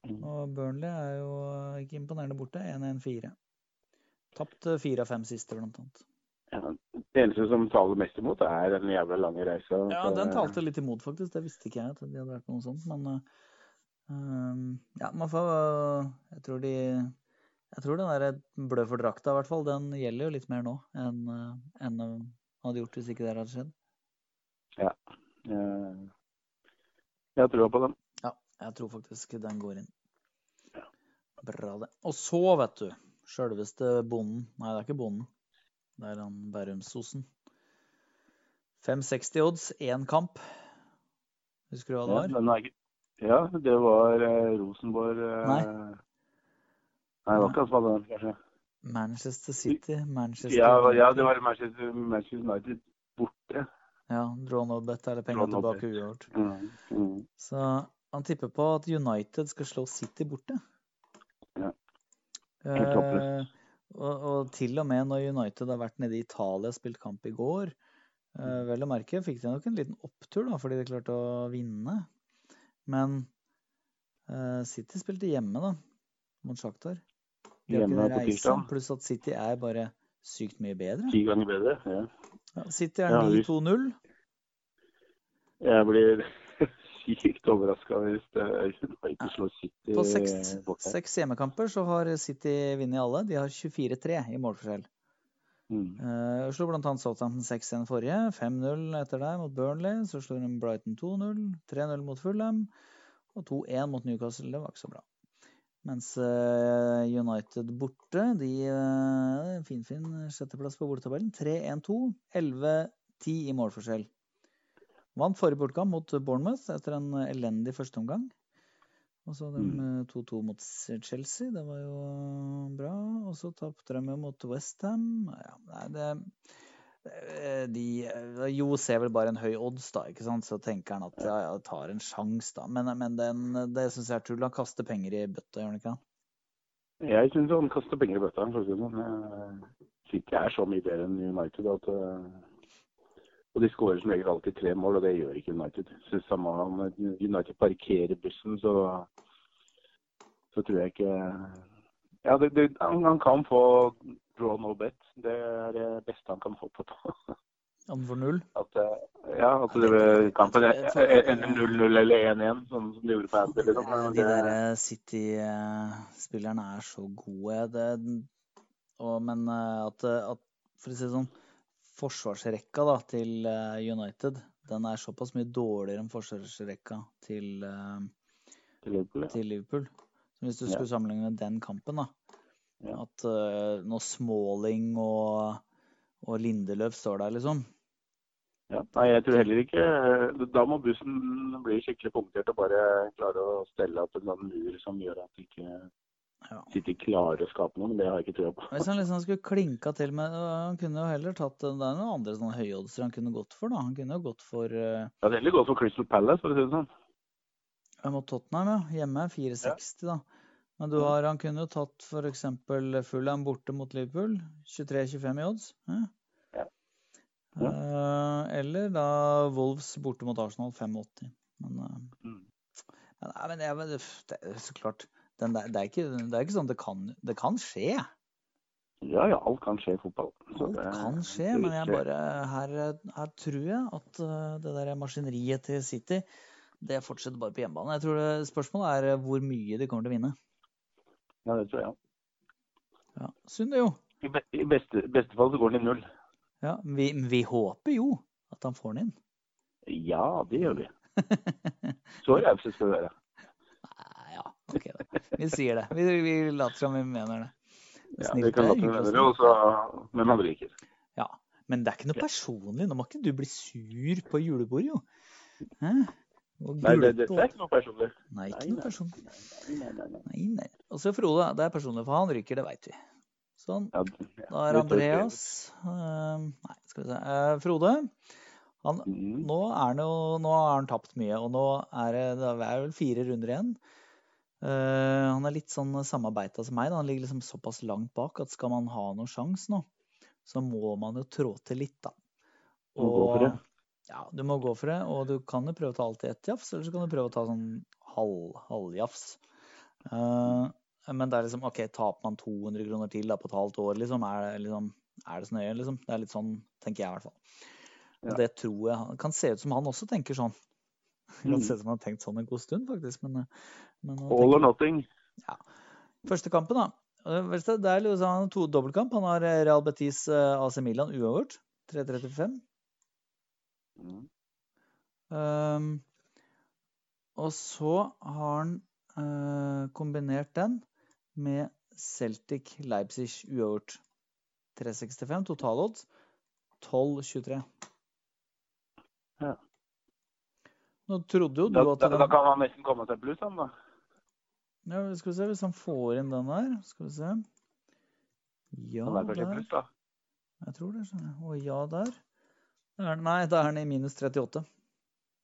Speaker 1: Mm.
Speaker 6: Og Burnley er jo eh, ikke imponerende borte. 1-1-4. Tapt eh, fire av fem siste, blant annet.
Speaker 1: Ja, Det eneste som taler mest imot, er den jævla lange reisa.
Speaker 6: Ja,
Speaker 1: Så,
Speaker 6: den
Speaker 1: eh,
Speaker 6: talte litt imot, faktisk. Det visste ikke jeg at de hadde vært noe sånt, men eh, um, Ja, man får eh, Jeg tror de Jeg tror den der blø for drakta, i hvert fall, den gjelder jo litt mer nå enn eh, enn den hadde gjort hvis ikke det her hadde skjedd.
Speaker 1: eh, Jeg tror på dem.
Speaker 6: Ja, jeg tror faktisk den går inn. Bra, det. Og så, vet du, sjølveste bonden Nei, det er ikke bonden. Det er han Bærumsosen. 5,60 odds, én kamp. Husker du hva det
Speaker 1: Ja,
Speaker 6: var?
Speaker 1: den er ikke- ja, det var eh, Rosenborg eh,
Speaker 6: Nei.
Speaker 1: Nei, det var ikke han som hadde den, kanskje.
Speaker 6: Manchester City, Manchester
Speaker 1: Ja, ja, det var Manchester, Manchester United borte.
Speaker 6: Ja, draw no bet, eller
Speaker 1: Draw
Speaker 6: penger
Speaker 1: no
Speaker 6: tilbake
Speaker 1: bet.
Speaker 6: uavgjort.
Speaker 1: Mm. Mm.
Speaker 6: Så han tipper på at United skal slå City borte.
Speaker 1: Ja. Helt
Speaker 6: Eh, og, og til og med når United har vært nede i Italia og spilt kamp i går, eh,
Speaker 1: Mm.
Speaker 6: vel å merke, fikk de nok en liten opptur da, fordi de klarte å vinne. Men eh, City spilte hjemme, da, mot Shakhtar. De har ikke
Speaker 1: Hjemme
Speaker 6: den
Speaker 1: på
Speaker 6: reisen,
Speaker 1: tirsdag.
Speaker 6: Pluss at City er bare sykt mye bedre.
Speaker 1: Ti ganger bedre. Ja.
Speaker 6: Ja, City er
Speaker 1: Ja, vi-
Speaker 6: 9-2-0.
Speaker 1: Jeg blir sykt overraska hvis eh, United slår City
Speaker 6: På seks,
Speaker 1: borte.
Speaker 6: seks hjemmekamper så har City vunnet alle. De har 24-3 i målforskjell.
Speaker 1: Mm.
Speaker 6: Uh, slo bl.a. Southampton 6-1 forrige. 5-0 etter der mot Burnley. Så slår de Brighton 2-0. 3-0 mot Fulham. Og 2-1 mot Newcastle. Det var ikke så bra. Mens eh, United borte, de uh, finfin sjetteplass på bordetabellen. 3-1-2. 11-10 i målforskjell. Vant forrige bortekamp mot Bournemouth etter en elendig førsteomgang. Og så hadde de eh, 2-2 mot S- Chelsea, det var jo eh, bra. Og så tapte de jo mot Westham. Ja, nei, det eh, de, eh, Jo ser vel bare en høy odds, da. ikke sant? Så tenker han at ja, ja, tar en sjanse, da. Men, men den, det syns jeg er tull. Han kaster penger i bøtta, gjør han ikke? det?
Speaker 1: Jeg syns han kaster penger i bøtta. for å si det sånn. Eh, City er så mye bedre enn United at eh, Og de skårer som regel alltid tre mål, og det gjør ikke United. Så samme om United parkerer bussen, så, så tror jeg ikke Ja, det, det, han, han kan få draw no bet. Det er det beste han kan få på
Speaker 6: Om for null.
Speaker 1: At, eh, ja, at det ble kampen ender 0-0 eller 1-1, sånn som de gjorde på Anfield.
Speaker 6: Ja,
Speaker 1: Liksom.
Speaker 6: De der eh, City-spillerne er så gode. Det, og, men eh, at, at For å si det sånn Forsvarsrekka da, til eh, United den er såpass mye dårligere enn forsvarsrekka til, eh,
Speaker 1: Liverpool, ja.
Speaker 6: til Liverpool. Så hvis du
Speaker 1: Ja.
Speaker 6: skulle sammenligne den kampen, da
Speaker 1: Ja.
Speaker 6: At eh, når Smalling og, og Lindeløf står der, liksom
Speaker 1: Ja, nei, jeg tror heller ikke eh, Da må bussen bli skikkelig punktert og bare klare å stelle opp en eller annen mur som gjør at de ikke
Speaker 6: Ja.
Speaker 1: sitter klare å skape noe, men det har jeg ikke trua på.
Speaker 6: Hvis han liksom skulle klinka til med Han kunne jo heller tatt Det er noen andre sånne høyoddser han kunne gått for, da. Han kunne jo gått for eh,
Speaker 1: Jeg hadde heller gått for Crystal Palace, for å si det sånn.
Speaker 6: Ja, mot Tottenham, ja. Hjemme 4,60, da. Men du har, han kunne jo tatt f.eks. Fulham borte mot Liverpool. 23-25 i odds. Ja.
Speaker 1: Ja.
Speaker 6: Eh, eller da Wolves borte mot Arsenal 5,80. Men, eh,
Speaker 1: Mm.
Speaker 6: men, nei, men jeg, men, uff, det er så klart den der, det, er ikke, det er ikke sånn at det kan, det kan skje.
Speaker 1: Ja ja, alt kan skje i fotball. Så
Speaker 6: Alt
Speaker 1: det-
Speaker 6: kan skje,
Speaker 1: det
Speaker 6: men jeg
Speaker 1: virker-
Speaker 6: bare, her, her tror jeg at eh, det der maskineriet til City det fortsetter bare på hjemmebane. Jeg tror det, Spørsmålet er eh, hvor mye de kommer til å vinne.
Speaker 1: Ja, det tror jeg. ja.
Speaker 6: Ja, Synd det jo.
Speaker 1: I, be i beste, beste fall så går den i null.
Speaker 6: Ja, vi, vi håper jo at han får den inn.
Speaker 1: Ja, det gjør vi. Så rause skal vi være.
Speaker 6: Nei, ja, ok da. Vi sier det. Vi, vi later som vi mener det.
Speaker 1: Ja,
Speaker 6: Snilt,
Speaker 1: vi kan
Speaker 6: det
Speaker 1: late
Speaker 6: er
Speaker 1: som vi
Speaker 6: hyggelig å
Speaker 1: mener
Speaker 6: si.
Speaker 1: det, og så Men han drikker.
Speaker 6: Ja, Men det er ikke noe personlig. Nå må ikke du bli sur på julebordet, jo. Hæ? Og
Speaker 1: Nei, det,
Speaker 6: gulpe
Speaker 1: det, det er
Speaker 6: og-
Speaker 1: ikke noe personlig.
Speaker 6: Nei,
Speaker 1: Nei,
Speaker 6: ikke noe
Speaker 1: nei.
Speaker 6: personlig.
Speaker 1: Nei, nei, nei.
Speaker 6: Nei, nei. Og så Frode, det er personlig for han ryker, det veit vi. Sånn.
Speaker 1: Ja, det- ja.
Speaker 6: Da er
Speaker 1: det står
Speaker 6: Andreas eh, Nei, skal vi se. eh, Frode. Han,
Speaker 1: skrevet. Mm.
Speaker 6: nå er han jo Nå har han tapt mye, og nå er det, det er vel fire runder igjen. Eh, han er litt sånn samarbeida som meg. Da. Han ligger liksom såpass langt bak at skal man ha noen sjanse nå, så må man jo trå til litt, da.
Speaker 1: Må gå for det.
Speaker 6: ja, du må gå for det, og du kan jo prøve å ta alt i ett jafs, eller så kan du prøve å ta sånn halv, halvjafs. Eh, men det er liksom OK, taper man 200 kroner til da, på et halvt år, liksom? Er det, liksom, er det så nøye, liksom? Det er litt sånn, tenker jeg i hvert fall. Og
Speaker 1: Ja.
Speaker 6: det tror jeg han- kan se ut som han også tenker sånn. Det kan
Speaker 1: Mm.
Speaker 6: se ut som han har tenkt sånn en god stund, faktisk. Men, men han
Speaker 1: All or
Speaker 6: tenker,
Speaker 1: nothing.
Speaker 6: første kampen, da. Eh, vet du, Det er liksom, han har to dobbeltkamp. Han har eh, Real Betis eh, AC Milan uavgjort. 3.35.
Speaker 1: Mm.
Speaker 6: Ehm, og så har han eh, kombinert den med Celtic Leipzig uavgjort. 365 totalodds. 12-23.
Speaker 1: Ja.
Speaker 6: Nå trodde jo du
Speaker 1: Da,
Speaker 6: at
Speaker 1: da,
Speaker 6: den
Speaker 1: da kan han nesten komme til pluss, han da.
Speaker 6: ja, Skal vi se hvis han får inn den der. Skal vi se. Ja,
Speaker 1: Han er kanskje i
Speaker 6: der.
Speaker 1: pluss, da.
Speaker 6: Jeg tror det. skjønner jeg. Og ja, der. Da er den- Nei, da er den i minus 38.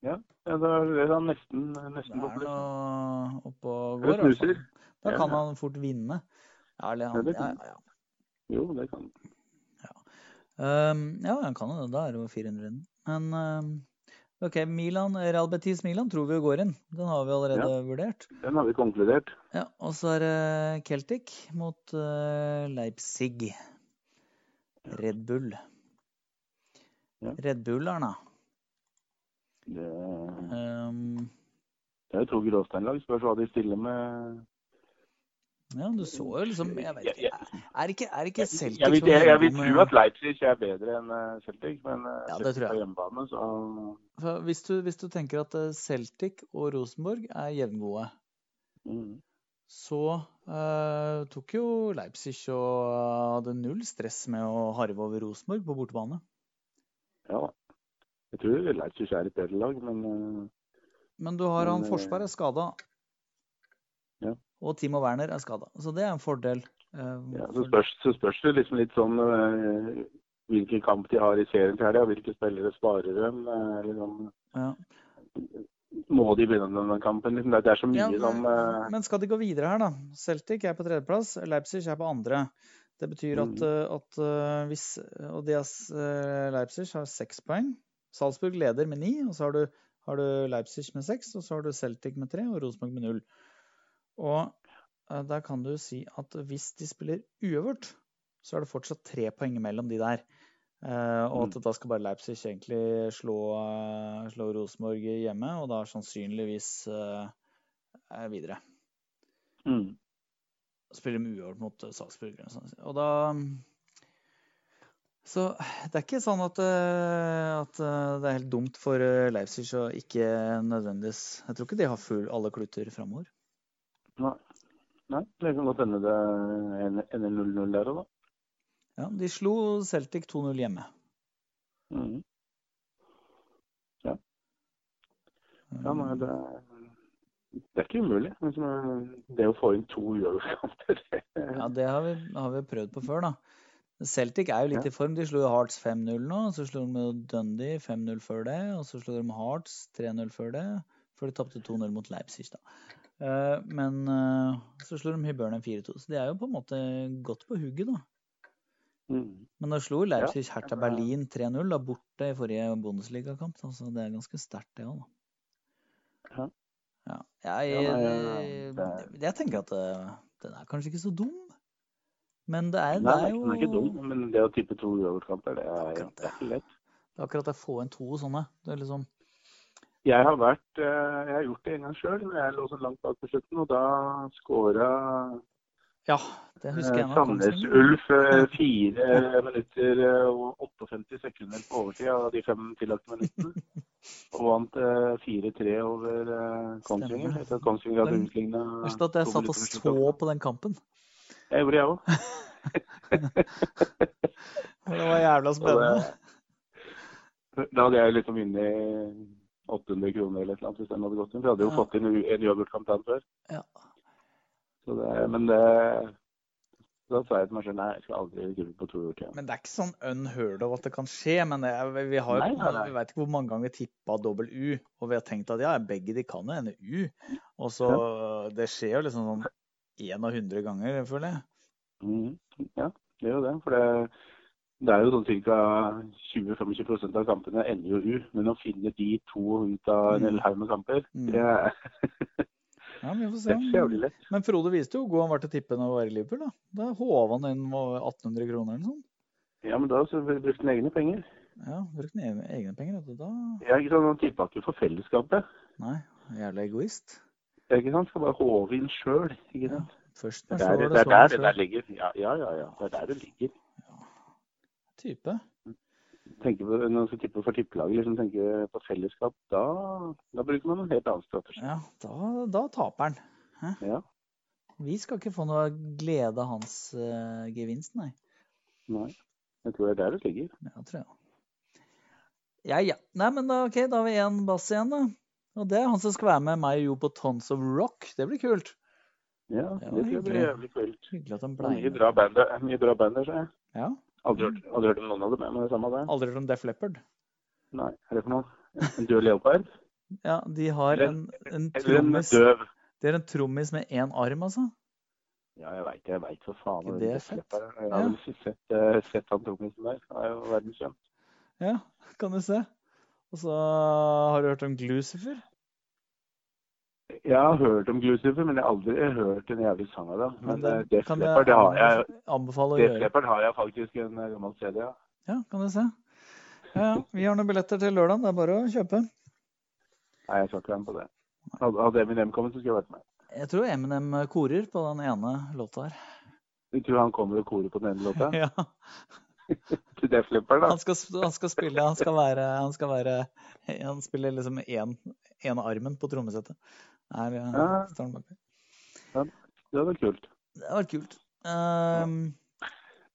Speaker 1: Ja, da er han nesten,
Speaker 6: Det
Speaker 1: nesten på
Speaker 6: er altså.
Speaker 1: pluss.
Speaker 6: noe oppå og
Speaker 1: Det
Speaker 6: går. i hvert fall.
Speaker 1: snuser.
Speaker 6: Da
Speaker 1: Ja,
Speaker 6: kan
Speaker 1: ja.
Speaker 6: han fort vinne. Ja, eller han,
Speaker 1: Ja, det
Speaker 6: ja,
Speaker 1: kan
Speaker 6: ja, ja.
Speaker 1: Jo, det kan han.
Speaker 6: Ehm, ja, han kan jo det. Da er det jo 400 runden. Men ehm, OK, Milan, Real Betis Milan tror vi jo går inn. Den har vi allerede vurdert.
Speaker 1: Den har vi konkludert.
Speaker 6: Ja, Og så er det Celtic mot eh, Leipzig. Red Bull.
Speaker 1: Ja.
Speaker 6: Red Bullerne.
Speaker 1: Det,
Speaker 6: Um,
Speaker 1: det er jo to gråsteinlag. Spørs hva de stiller med.
Speaker 6: ja, du så jo liksom Jeg vet
Speaker 1: Jeg-
Speaker 6: ikke. Er ikke, er ikke Celtic
Speaker 1: Jeg vil,
Speaker 6: sånn
Speaker 1: jeg, jeg vil
Speaker 6: gjennom,
Speaker 1: tro
Speaker 6: eh,
Speaker 1: at Leipzig er bedre enn eh, Celtic, men eh,
Speaker 6: Ja, det
Speaker 1: Celtic
Speaker 6: tror jeg.
Speaker 1: er hjemmebane, så
Speaker 6: For Hvis du, hvis du tenker at eh, Celtic og Rosenborg er jevngode,
Speaker 1: mm.
Speaker 6: så eh, tok jo Leipzig og eh, hadde null stress med å harve over Rosenborg på bortebane.
Speaker 1: Ja da. Jeg tror Leipzig er et bedre lag, men eh,
Speaker 6: Men du har han
Speaker 1: Men, eh,
Speaker 6: Forsberg er skada.
Speaker 1: Ja.
Speaker 6: Og Timo Werner er skada. Så det er en fordel. eh,
Speaker 1: ja, så,
Speaker 6: for-
Speaker 1: spørs, så spørs det liksom litt sånn eh, hvilken kamp de har i serien til helga, hvilke spillere sparer dem. eh, liksom.
Speaker 6: ja.
Speaker 1: Må de begynne med den kampen? Liksom. Det, det er så mye
Speaker 6: Ja,
Speaker 1: som
Speaker 6: men,
Speaker 1: eh,
Speaker 6: men skal de gå videre her, da? Celtic er på tredjeplass, Leipzig er på andre. Det betyr at,
Speaker 1: Mhm.
Speaker 6: eh, at eh, hvis Og de har s- eh, Leipzig har seks poeng. Salzburg leder med ni, og så har du, har du Leipzig med seks, og så har du Celtic med tre og Rosenborg med null. Og eh, der kan du si at hvis de spiller uavgjort, så er det fortsatt tre poeng mellom de der. Eh, og at da skal bare Leipzig egentlig slå, eh, slå Rosenborg hjemme, og da sannsynligvis eh, eh, videre.
Speaker 1: Mm.
Speaker 6: Spiller med uavgjort mot eh, Salzburg. eller noe sånt. Og da Så det er ikke sånn at, eh, at eh, det er helt dumt for eh, Leipzig å ikke nødvendigvis Jeg tror ikke de har full alle kluter framover.
Speaker 1: Nei, det kan godt hende det ender- ender 0-0 der òg, da.
Speaker 6: Ja, de slo Celtic 2-0 hjemme.
Speaker 1: Mm. Ja, nei, det, det er ikke umulig. Men som- Det å få inn to uavgjortkamper det-
Speaker 6: Ja, det har vi, har vi prøvd på før, da. Celtic er jo litt i form. De slo jo Hearts 5-0 nå. Så slo de jo Dundee 5-0 før det. Og så slo de Hearts 3-0 før det. Før de tapte 2-0 mot Leipzig, da. Eh, Men eh, så slo de Hibernian 4-2. Så de er jo på en måte godt på hugget, da.
Speaker 1: Mm.
Speaker 6: Men da slo Leipzig Hertha
Speaker 1: men, eh,
Speaker 6: Berlin 3-0 da borte i forrige Bundesliga-kamp. da, Så det er ganske sterkt, det òg, da.
Speaker 1: Ja.
Speaker 6: Ja. Jeg,
Speaker 1: Ja, nei,
Speaker 6: jeg,
Speaker 1: det-
Speaker 6: jeg tenker at eh, den er kanskje ikke så dum, men det er, det
Speaker 1: Nei,
Speaker 6: er
Speaker 1: den
Speaker 6: jo
Speaker 1: er ikke dum, men det å tippe to uavgjortkamper, det er
Speaker 6: Akkurat det.
Speaker 1: det er ikke lett.
Speaker 6: det er akkurat å få inn to sånne. Det er liksom
Speaker 1: Jeg har, vært, eh, jeg har gjort det en gang sjøl, men jeg lå så langt bak på slutten, og da skåra
Speaker 6: Ja, det husker jeg nå.
Speaker 1: Eh, Sandnes
Speaker 6: Kongsvinger.
Speaker 1: Ulf eh, fire minutter eh, og 58 sekunder på overtid av de fem tillagte minuttene. Og vant eh, 4-3 over eh,
Speaker 6: Stemmer
Speaker 1: Kongsvinger.
Speaker 6: det.
Speaker 1: Etter at Kongsvinger hadde
Speaker 6: Den-
Speaker 1: utligna
Speaker 6: Verst
Speaker 1: eh,
Speaker 6: at jeg satt og så på den kampen.
Speaker 1: Det gjorde jeg òg.
Speaker 6: Det var jævla spennende.
Speaker 1: Da hadde jeg liksom vunnet 800 kroner eller et eller annet hvis den hadde gått inn. For jeg hadde jo
Speaker 6: Ja.
Speaker 1: fått inn en u- en uavgjortkamp der før.
Speaker 6: Ja.
Speaker 1: Så det, men det Da sa jeg til meg selv nei, jeg skal aldri gruppe på to uker igjen.
Speaker 6: Men det er ikke sånn unheard of at det kan skje. Men det er, vi, har
Speaker 1: Nei,
Speaker 6: jo,
Speaker 1: nei, nei.
Speaker 6: vi vet ikke hvor mange ganger vi tippa dobbel U, og vi har tenkt at ja, begge de kan jo ende U. Og så Det skjer jo liksom sånn én av hundre ganger, føler jeg.
Speaker 1: Mhm. Ja, det gjør jo det. For det, det er jo sånn ca. 20-25 av kampene ender jo U. Men å finne de to ut av en
Speaker 6: Mm.
Speaker 1: hel haug med kamper,
Speaker 6: Mm.
Speaker 1: det er,
Speaker 6: Ja, men vi får
Speaker 1: det
Speaker 6: se.
Speaker 1: er jævlig
Speaker 6: om-
Speaker 1: lett.
Speaker 6: Men Frode viste jo hvor god han var til å tippe når han var i Liverpool. Da Da håva han inn med 1800 kroner eller noe sånt.
Speaker 1: Ja, men da så brukte han egne penger.
Speaker 6: Ja, brukte han egne- egne penger. vet du, Da
Speaker 1: Ja, ikke sant? Han tippa ikke for fellesskapet.
Speaker 6: Nei, jævla egoist.
Speaker 1: Ja, Ikke sant? Skal bare håve inn sjøl. Ikke sant?
Speaker 6: Først
Speaker 1: Det er det,
Speaker 6: når så var
Speaker 1: det,
Speaker 6: det
Speaker 1: er der
Speaker 6: så
Speaker 1: det der ligger. Ja, ja, ja, ja. Det er der det ligger.
Speaker 6: type.
Speaker 1: Tenker på, når man skal tippe for tippelaget, liksom tenker på fellesskap, da, da bruker man en helt annen strategi.
Speaker 6: Ja, da, da taper han. Hæ?
Speaker 1: Ja.
Speaker 6: Vi skal ikke få noe glede av hans eh, gevinst, nei.
Speaker 1: Nei. Jeg tror det er der det ligger.
Speaker 6: Ja, tror jeg. Ja, ja. Nei, men da, ok, da har vi én bass igjen, da. Og det er han som skal være med meg og Jo på Tons of Rock. Det blir kult.
Speaker 1: Ja, det
Speaker 6: Ja,
Speaker 1: tror jeg blir
Speaker 6: hyggelig.
Speaker 1: jævlig kult.
Speaker 6: Hyggelig at han
Speaker 1: Det er
Speaker 6: blei
Speaker 1: Mye
Speaker 6: med.
Speaker 1: bra band der, mye bra band der, sa jeg.
Speaker 6: Ja.
Speaker 1: Aldri hørt, aldri hørt om noen av dem, men det er samme det.
Speaker 6: Aldri hørt om Def Leppard.
Speaker 1: Nei, er det for noe? En død leopard?
Speaker 6: Ja, de har en, en
Speaker 1: Eller en
Speaker 6: trommis
Speaker 1: døv?
Speaker 6: Det er en trommis med én arm, altså.
Speaker 1: Ja, jeg veit det. Jeg veit for faen
Speaker 6: Ikke
Speaker 1: hva
Speaker 6: det
Speaker 1: den
Speaker 6: er
Speaker 1: Def
Speaker 6: fett?
Speaker 1: Leppard er. Jeg har
Speaker 6: Ja.
Speaker 1: vel sett, eh, sett han trommisen der. Han er jo verdenskjent.
Speaker 6: Ja, kan du se. Og så har du hørt om Glucifer?
Speaker 1: Jeg har hørt om Glucifer, men jeg har aldri hørt en jævlig sang av det. Men
Speaker 6: det
Speaker 1: eh, Def
Speaker 6: kan jeg
Speaker 1: Leppard det har jeg.
Speaker 6: Anbefale å
Speaker 1: Def
Speaker 6: gjøre.
Speaker 1: Leppard har jeg faktisk en eh, gammel CD av.
Speaker 6: Ja, kan du se. Ja, ja. Vi har noen billetter til lørdag. Det er bare å kjøpe.
Speaker 1: Nei, jeg skal ikke være med på det. Hadde hadde Eminem kommet, så skulle jeg vært med.
Speaker 6: Jeg tror Eminem korer på den ene låta her.
Speaker 1: Du tror han kommer og korer på den ene låta?
Speaker 6: Ja,
Speaker 1: Til Def Leppard, da?
Speaker 6: han skal, han skal spille Han skal være Han, skal være, han spiller liksom én ene armen på trommesettet. Her eh,
Speaker 1: Ja.
Speaker 6: står han bak.
Speaker 1: Det hadde vært kult.
Speaker 6: Det hadde vært kult. Ehm,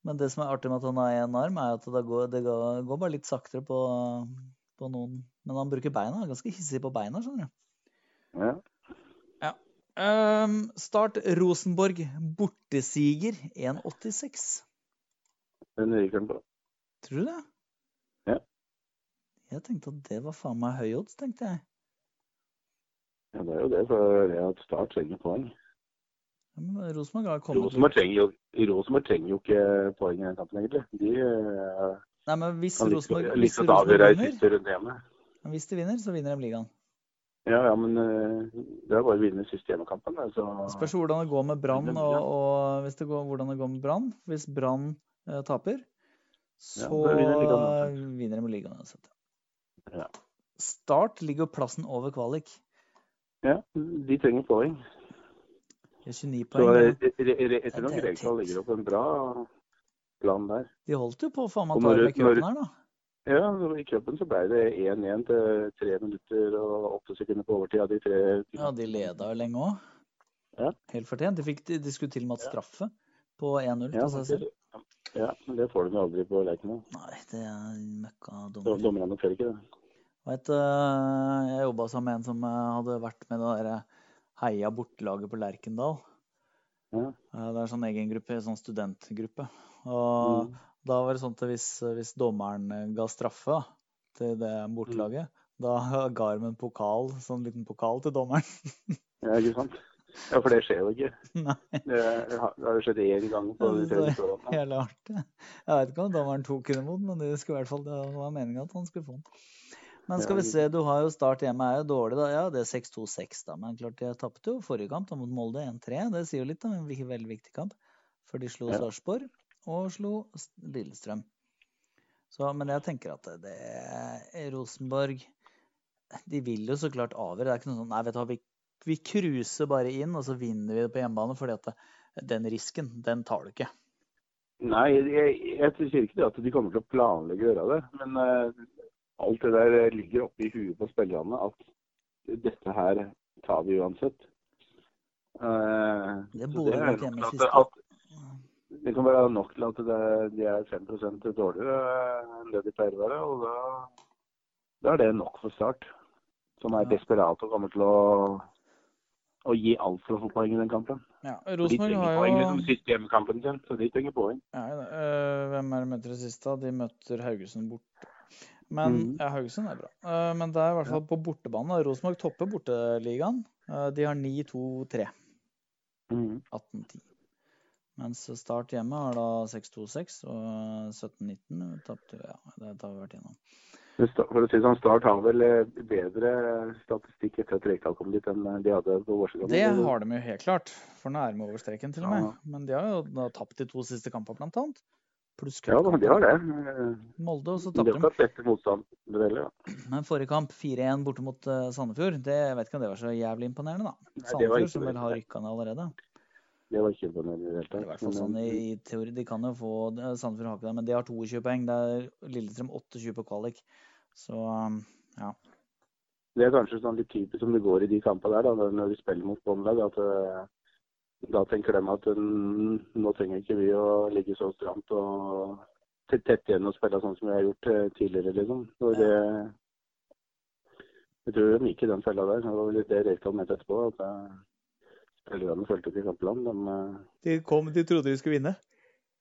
Speaker 6: men det som er artig med at han har én arm, er at det går, det går, går bare litt saktere på, på noen Men han bruker beina. Han er ganske hissig på beina, skjønner du.
Speaker 1: Ja.
Speaker 6: Ehm, start Rosenborg bortesiger 1,86.
Speaker 1: Den ryker han på.
Speaker 6: Tror du det?
Speaker 1: Ja.
Speaker 6: Jeg tenkte at det var faen meg høy odds, tenkte jeg.
Speaker 1: Ja, det er jo det, for jeg har Start trenger poeng.
Speaker 6: Ja, Men Rosenborg har kommet
Speaker 1: Rosenborg trenger, jo- Rosenborg trenger jo ikke poeng i den kampen, egentlig. De eh,
Speaker 6: Nei, men hvis
Speaker 1: kan liksom
Speaker 6: Rosenborg, hvis
Speaker 1: liksom
Speaker 6: Rosenborg
Speaker 1: avgjøre i
Speaker 6: vinner,
Speaker 1: siste runde hjemme.
Speaker 6: hvis de vinner, så vinner de ligaen.
Speaker 1: Ja, ja, men eh, det er bare å vinne siste hjemmekampen. da, Så,
Speaker 6: Spørs hvordan det går med Brann,
Speaker 1: Men det-
Speaker 6: og, og hvis det går, hvordan det går med Brann. Hvis Brann eh, taper,
Speaker 1: Ja,
Speaker 6: så
Speaker 1: da vinner ligaen uansett.
Speaker 6: vinner de ligaen uansett.
Speaker 1: Ja.
Speaker 6: Start ligger jo plassen over kvalik.
Speaker 1: Ja, de trenger poeng.
Speaker 6: De har 29
Speaker 1: Så
Speaker 6: poeng.
Speaker 1: jeg
Speaker 6: da.
Speaker 1: jeg- jeg tror nok
Speaker 6: Det er jo
Speaker 1: Rekdal
Speaker 6: tett.
Speaker 1: legger opp en bra plan der.
Speaker 6: De holdt jo på å faen meg
Speaker 1: Og
Speaker 6: ta
Speaker 1: når-
Speaker 6: med
Speaker 1: når-
Speaker 6: cupen her, da.
Speaker 1: Ja, og I cupen så ble det 1-1 til tre minutter og åtte sekunder på overtid av de tre.
Speaker 6: Ja, de leda jo lenge òg.
Speaker 1: Ja.
Speaker 6: Helt fortjent. De, fikk, de, de skulle til og med hatt straffe på 1-0
Speaker 1: Ja,
Speaker 6: til seg selv.
Speaker 1: ja, men det får de jo aldri på Lerkendal.
Speaker 6: Nei, det er
Speaker 1: Så
Speaker 6: møkka dumt.
Speaker 1: Dommerne noterer ikke det.
Speaker 6: Vet, eh, jeg jobba sammen med en som eh, hadde vært med det derre heia bortelaget på Lerkendal.
Speaker 1: Ja.
Speaker 6: Eh, Det er sånn egen gruppe, sånn studentgruppe. Og
Speaker 1: Mm.
Speaker 6: da var det sånn at hvis, hvis dommeren eh, ga straffe da, til det
Speaker 1: Mm.
Speaker 6: bortelaget, da ga de en pokal, sånn liten pokal til dommeren.
Speaker 1: Ja, ikke sant? Ja, for det skjer jo ikke.
Speaker 6: Nei.
Speaker 1: Det har det har jo skjedd én gang på de tre siste årene.
Speaker 6: Jævlig artig. Jeg vet ikke om dommeren tok den imot, men det, skulle i hvert fall, det var meninga at han skulle få den. Men skal
Speaker 1: Ja,
Speaker 6: vi se, du har jo Start hjemme, er jo dårlig, da. Ja, det er 6-2-6, da. Men klart, de tapte jo forrige kamp da, mot Molde 1-3. Det sier jo litt, da. En vi- veldig viktig kamp. For de slo
Speaker 1: Ja.
Speaker 6: Sarpsborg og slo S- Lillestrøm. Så, men jeg tenker at det er Rosenborg De vil jo så klart avgjøre. Det er ikke noe sånn Nei, vet du hva, vi, vi cruiser bare inn, og så vinner vi det på hjemmebane. fordi at det, den risken, den tar du ikke.
Speaker 1: Nei, jeg, jeg sier ikke det at de kommer til å planlegge å gjøre det. Men eh, alt det der ligger oppe i huet på spillerne at dette her tar vi uansett. Eh,
Speaker 6: Det
Speaker 1: så
Speaker 6: bor
Speaker 1: er
Speaker 6: nok
Speaker 1: nok
Speaker 6: hjemme i
Speaker 1: til at-
Speaker 6: siste.
Speaker 1: at- Det kan være nok til at det, de er 5 dårligere eh, enn det de pleier å være. Og da, da er det nok for Start, som er
Speaker 6: Ja.
Speaker 1: desperat og kommer til å, å gi alt for å få poeng i den kampen.
Speaker 6: Ja,
Speaker 1: For De
Speaker 6: Rosenborg
Speaker 1: trenger
Speaker 6: har
Speaker 1: poeng
Speaker 6: jo
Speaker 1: liksom, siste hjemmekampen sin, så de trenger poeng.
Speaker 6: ja, ja, øh, Hvem er det møter i siste? da? De møter Haugesund borte. Men
Speaker 1: Mhm.
Speaker 6: ja, Haugesund er bra. Øh, men det er i hvert fall på bortebane. da. Rosenborg topper borteligaen. Øh, de har 9-2-3. Mm. 18-10. Mens Start hjemme har da 6-2-6 og 17-19 tapte Ja, det har vi vært innom.
Speaker 1: Men sta- For å si det sånn, Start har vel eh, bedre statistikk etter at Rekdal kom dit enn de hadde på vårsesonen.
Speaker 6: Det har de jo helt klart, for nå er de over streken til og med.
Speaker 1: Ja.
Speaker 6: Men de har jo da tapt de to siste kampene, blant annet. Pluss
Speaker 1: Ja, da, de har det. Eh,
Speaker 6: Molde, og så
Speaker 1: De har
Speaker 6: tapte de
Speaker 1: ikke hatt beste motstandere heller. da.
Speaker 6: Men forrige kamp, 4-1 borte mot eh, Sandefjord, det jeg vet ikke om det var så jævlig imponerende, da.
Speaker 1: Nei, det var
Speaker 6: Sandefjord
Speaker 1: ikke
Speaker 6: som
Speaker 1: det.
Speaker 6: vel har rykka ned allerede.
Speaker 1: Det var ikke imponerende i det hele
Speaker 6: Eller
Speaker 1: tatt.
Speaker 6: I hvert fall
Speaker 1: men,
Speaker 6: sånn i,
Speaker 1: eh,
Speaker 6: i teori. De kan jo få eh, Sandefjord har ikke det, men de har 22 poeng. Det er Lillestrøm 28 på kvalik. Så um,
Speaker 1: Det er kanskje sånn litt typisk som det går i de kampene der, da, når de spiller mot båndlag. At eh, da tenker de at mm, nå trenger ikke vi å ligge så stramt og tett- tett igjen og spille sånn som vi har gjort eh, tidligere, liksom. Så det, jeg tror de gikk i den fella der. Det var vel litt det Reykdal mente etterpå. At eh, spillerne fulgte opp i eh, kampland. De,
Speaker 6: de kom, de trodde de skulle vinne.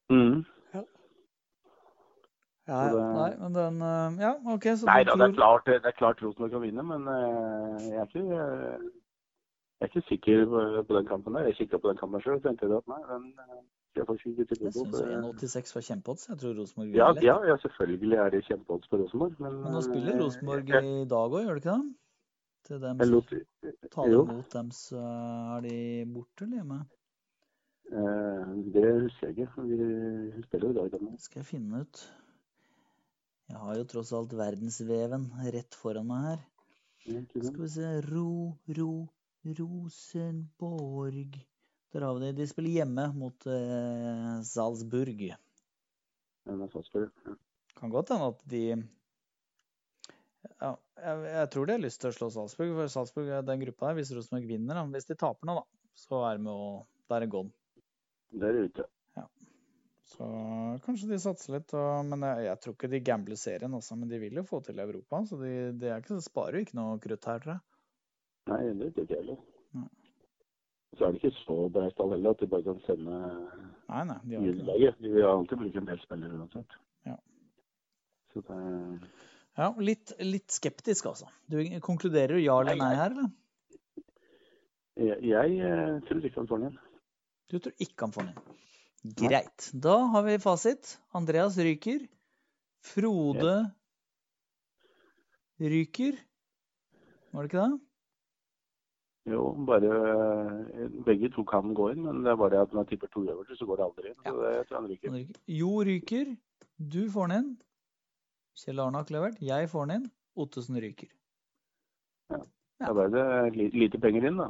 Speaker 1: eh, mm.
Speaker 6: Ja,
Speaker 1: Så
Speaker 6: ja.
Speaker 1: det-
Speaker 6: Nei, men den eh, Ja, OK, så
Speaker 1: Nei
Speaker 6: du
Speaker 1: da, det er
Speaker 6: tror
Speaker 1: klart, det er klart Rosenborg kan vinne, men eh, jeg er ikke, eh, jeg er ikke sikker på, på den kampen der. Jeg kikka på den kampen sjøl og tenkte at nei, den eh, skal jeg faktisk ikke
Speaker 6: Jeg
Speaker 1: tilbud
Speaker 6: syns
Speaker 1: på.
Speaker 6: 1,86 var kjempeodds. Jeg tror Rosenborg
Speaker 1: Ja,
Speaker 6: vinner lett.
Speaker 1: ja, ja, selvfølgelig er det kjempeodds på Rosenborg, men
Speaker 6: Men nå spiller
Speaker 1: eh,
Speaker 6: Rosenborg eh,
Speaker 1: jeg-
Speaker 6: i dag òg, gjør de ikke det? Til
Speaker 1: jeg
Speaker 6: dem
Speaker 1: lot-
Speaker 6: taler
Speaker 1: jo.
Speaker 6: mot dem, så er de borte eller hjemme?
Speaker 1: eh, Det husker jeg ikke. Vi spiller jo i dag. den.
Speaker 6: Det skal jeg finne ut. Jeg har jo tross alt verdensveven rett foran meg her.
Speaker 1: eh,
Speaker 6: Skal vi se Ro, ro, Rosenborg Der har vi det. De spiller hjemme mot eh, Salzburg.
Speaker 1: Men eh, jeg skal spille. Ja.
Speaker 6: Kan godt hende at de ja, jeg, jeg tror de har lyst til å slå Salzburg, for Salzburg er den gruppa her. Hvis Rosenborg vinner, da. hvis de taper nå, da, så er de jo Da er det gone.
Speaker 1: Der er ute.
Speaker 6: Så kanskje de satser litt. Og, men jeg, jeg tror ikke de gambler serien også, men de vil jo få til Europa. Så de, de er ikke, sparer jo ikke noe krutt her, tror jeg.
Speaker 1: Nei, det er ikke heller.
Speaker 6: Nei.
Speaker 1: Så er det ikke så breist all heller at de bare kan sende
Speaker 6: Nei, nei, de har ikke det.
Speaker 1: juniorlaget. De vil alltid bruke en del spillere uansett.
Speaker 6: Ja.
Speaker 1: Så det er
Speaker 6: Ja, litt, litt skeptisk, altså. Du konkluderer jo ja eller nei her, eller?
Speaker 1: Jeg, jeg eh, tror ikke han får den igjen.
Speaker 6: Du tror ikke han får den inn. Greit. Da har vi fasit. Andreas ryker. Frode ryker. Var det ikke det?
Speaker 1: Jo, bare eh, Begge to kan gå inn, men det er bare at når jeg tipper to øverste, så går det aldri inn. Så det tror jeg han ryker.
Speaker 6: Han ryker. Jo ryker. Du får den inn. Kjell Arne har kløvert. Jeg får den inn. Ottesen ryker.
Speaker 1: Da ble det li- lite penger inn, da.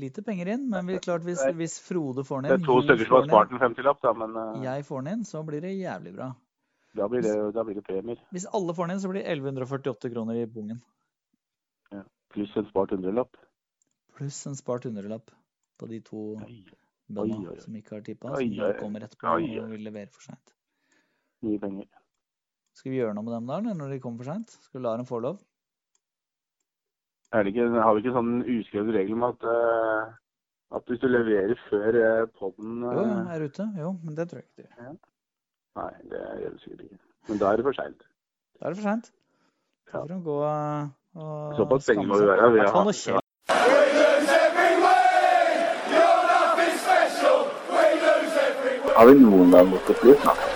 Speaker 6: Lite penger inn, men vi, klart hvis,
Speaker 1: Det er-
Speaker 6: hvis Frode får
Speaker 1: Det
Speaker 6: den
Speaker 1: er
Speaker 6: inn
Speaker 1: to
Speaker 6: du
Speaker 1: stykker som
Speaker 6: får
Speaker 1: har
Speaker 6: den
Speaker 1: spart en 50-lapp, da, men eh,
Speaker 6: inn, Jeg får den inn, så blir det jævlig bra.
Speaker 1: da, blir det, da blir det premier.
Speaker 6: Hvis alle får den inn, så blir det 1148 kroner i bungen.
Speaker 1: Pluss en spart hundrelapp.
Speaker 6: Pluss en spart hundrelapp på de to
Speaker 1: Oi, oi,
Speaker 6: bøndene
Speaker 1: oi.
Speaker 6: som ikke har tippa,
Speaker 1: Oi,
Speaker 6: som da
Speaker 1: oi,
Speaker 6: kommer etterpå
Speaker 1: oi, oi.
Speaker 6: og vil levere for seint.
Speaker 1: Mye penger.
Speaker 6: Skal vi gjøre noe med dem da, eller når de kommer for seint? Skal vi la dem få lov?
Speaker 1: Er det ikke, har vi ikke sånn uskrevet regel om at, eh, at hvis du leverer før uh, poden
Speaker 6: Jo, ja, er ute. Jo, men det tror jeg ikke de gjør.
Speaker 1: Nei, det gjør du sikkert ikke. Men da er det for seint.
Speaker 6: Da er det for seint. Da
Speaker 1: Ja.
Speaker 6: får de gå eh, og
Speaker 1: Såpass penger må
Speaker 6: skamme
Speaker 1: vi
Speaker 6: seg.
Speaker 1: være. Vi
Speaker 6: I hvert fall
Speaker 1: har-
Speaker 6: når Kjell
Speaker 4: Har vi noen gang gått opp litt? Nei.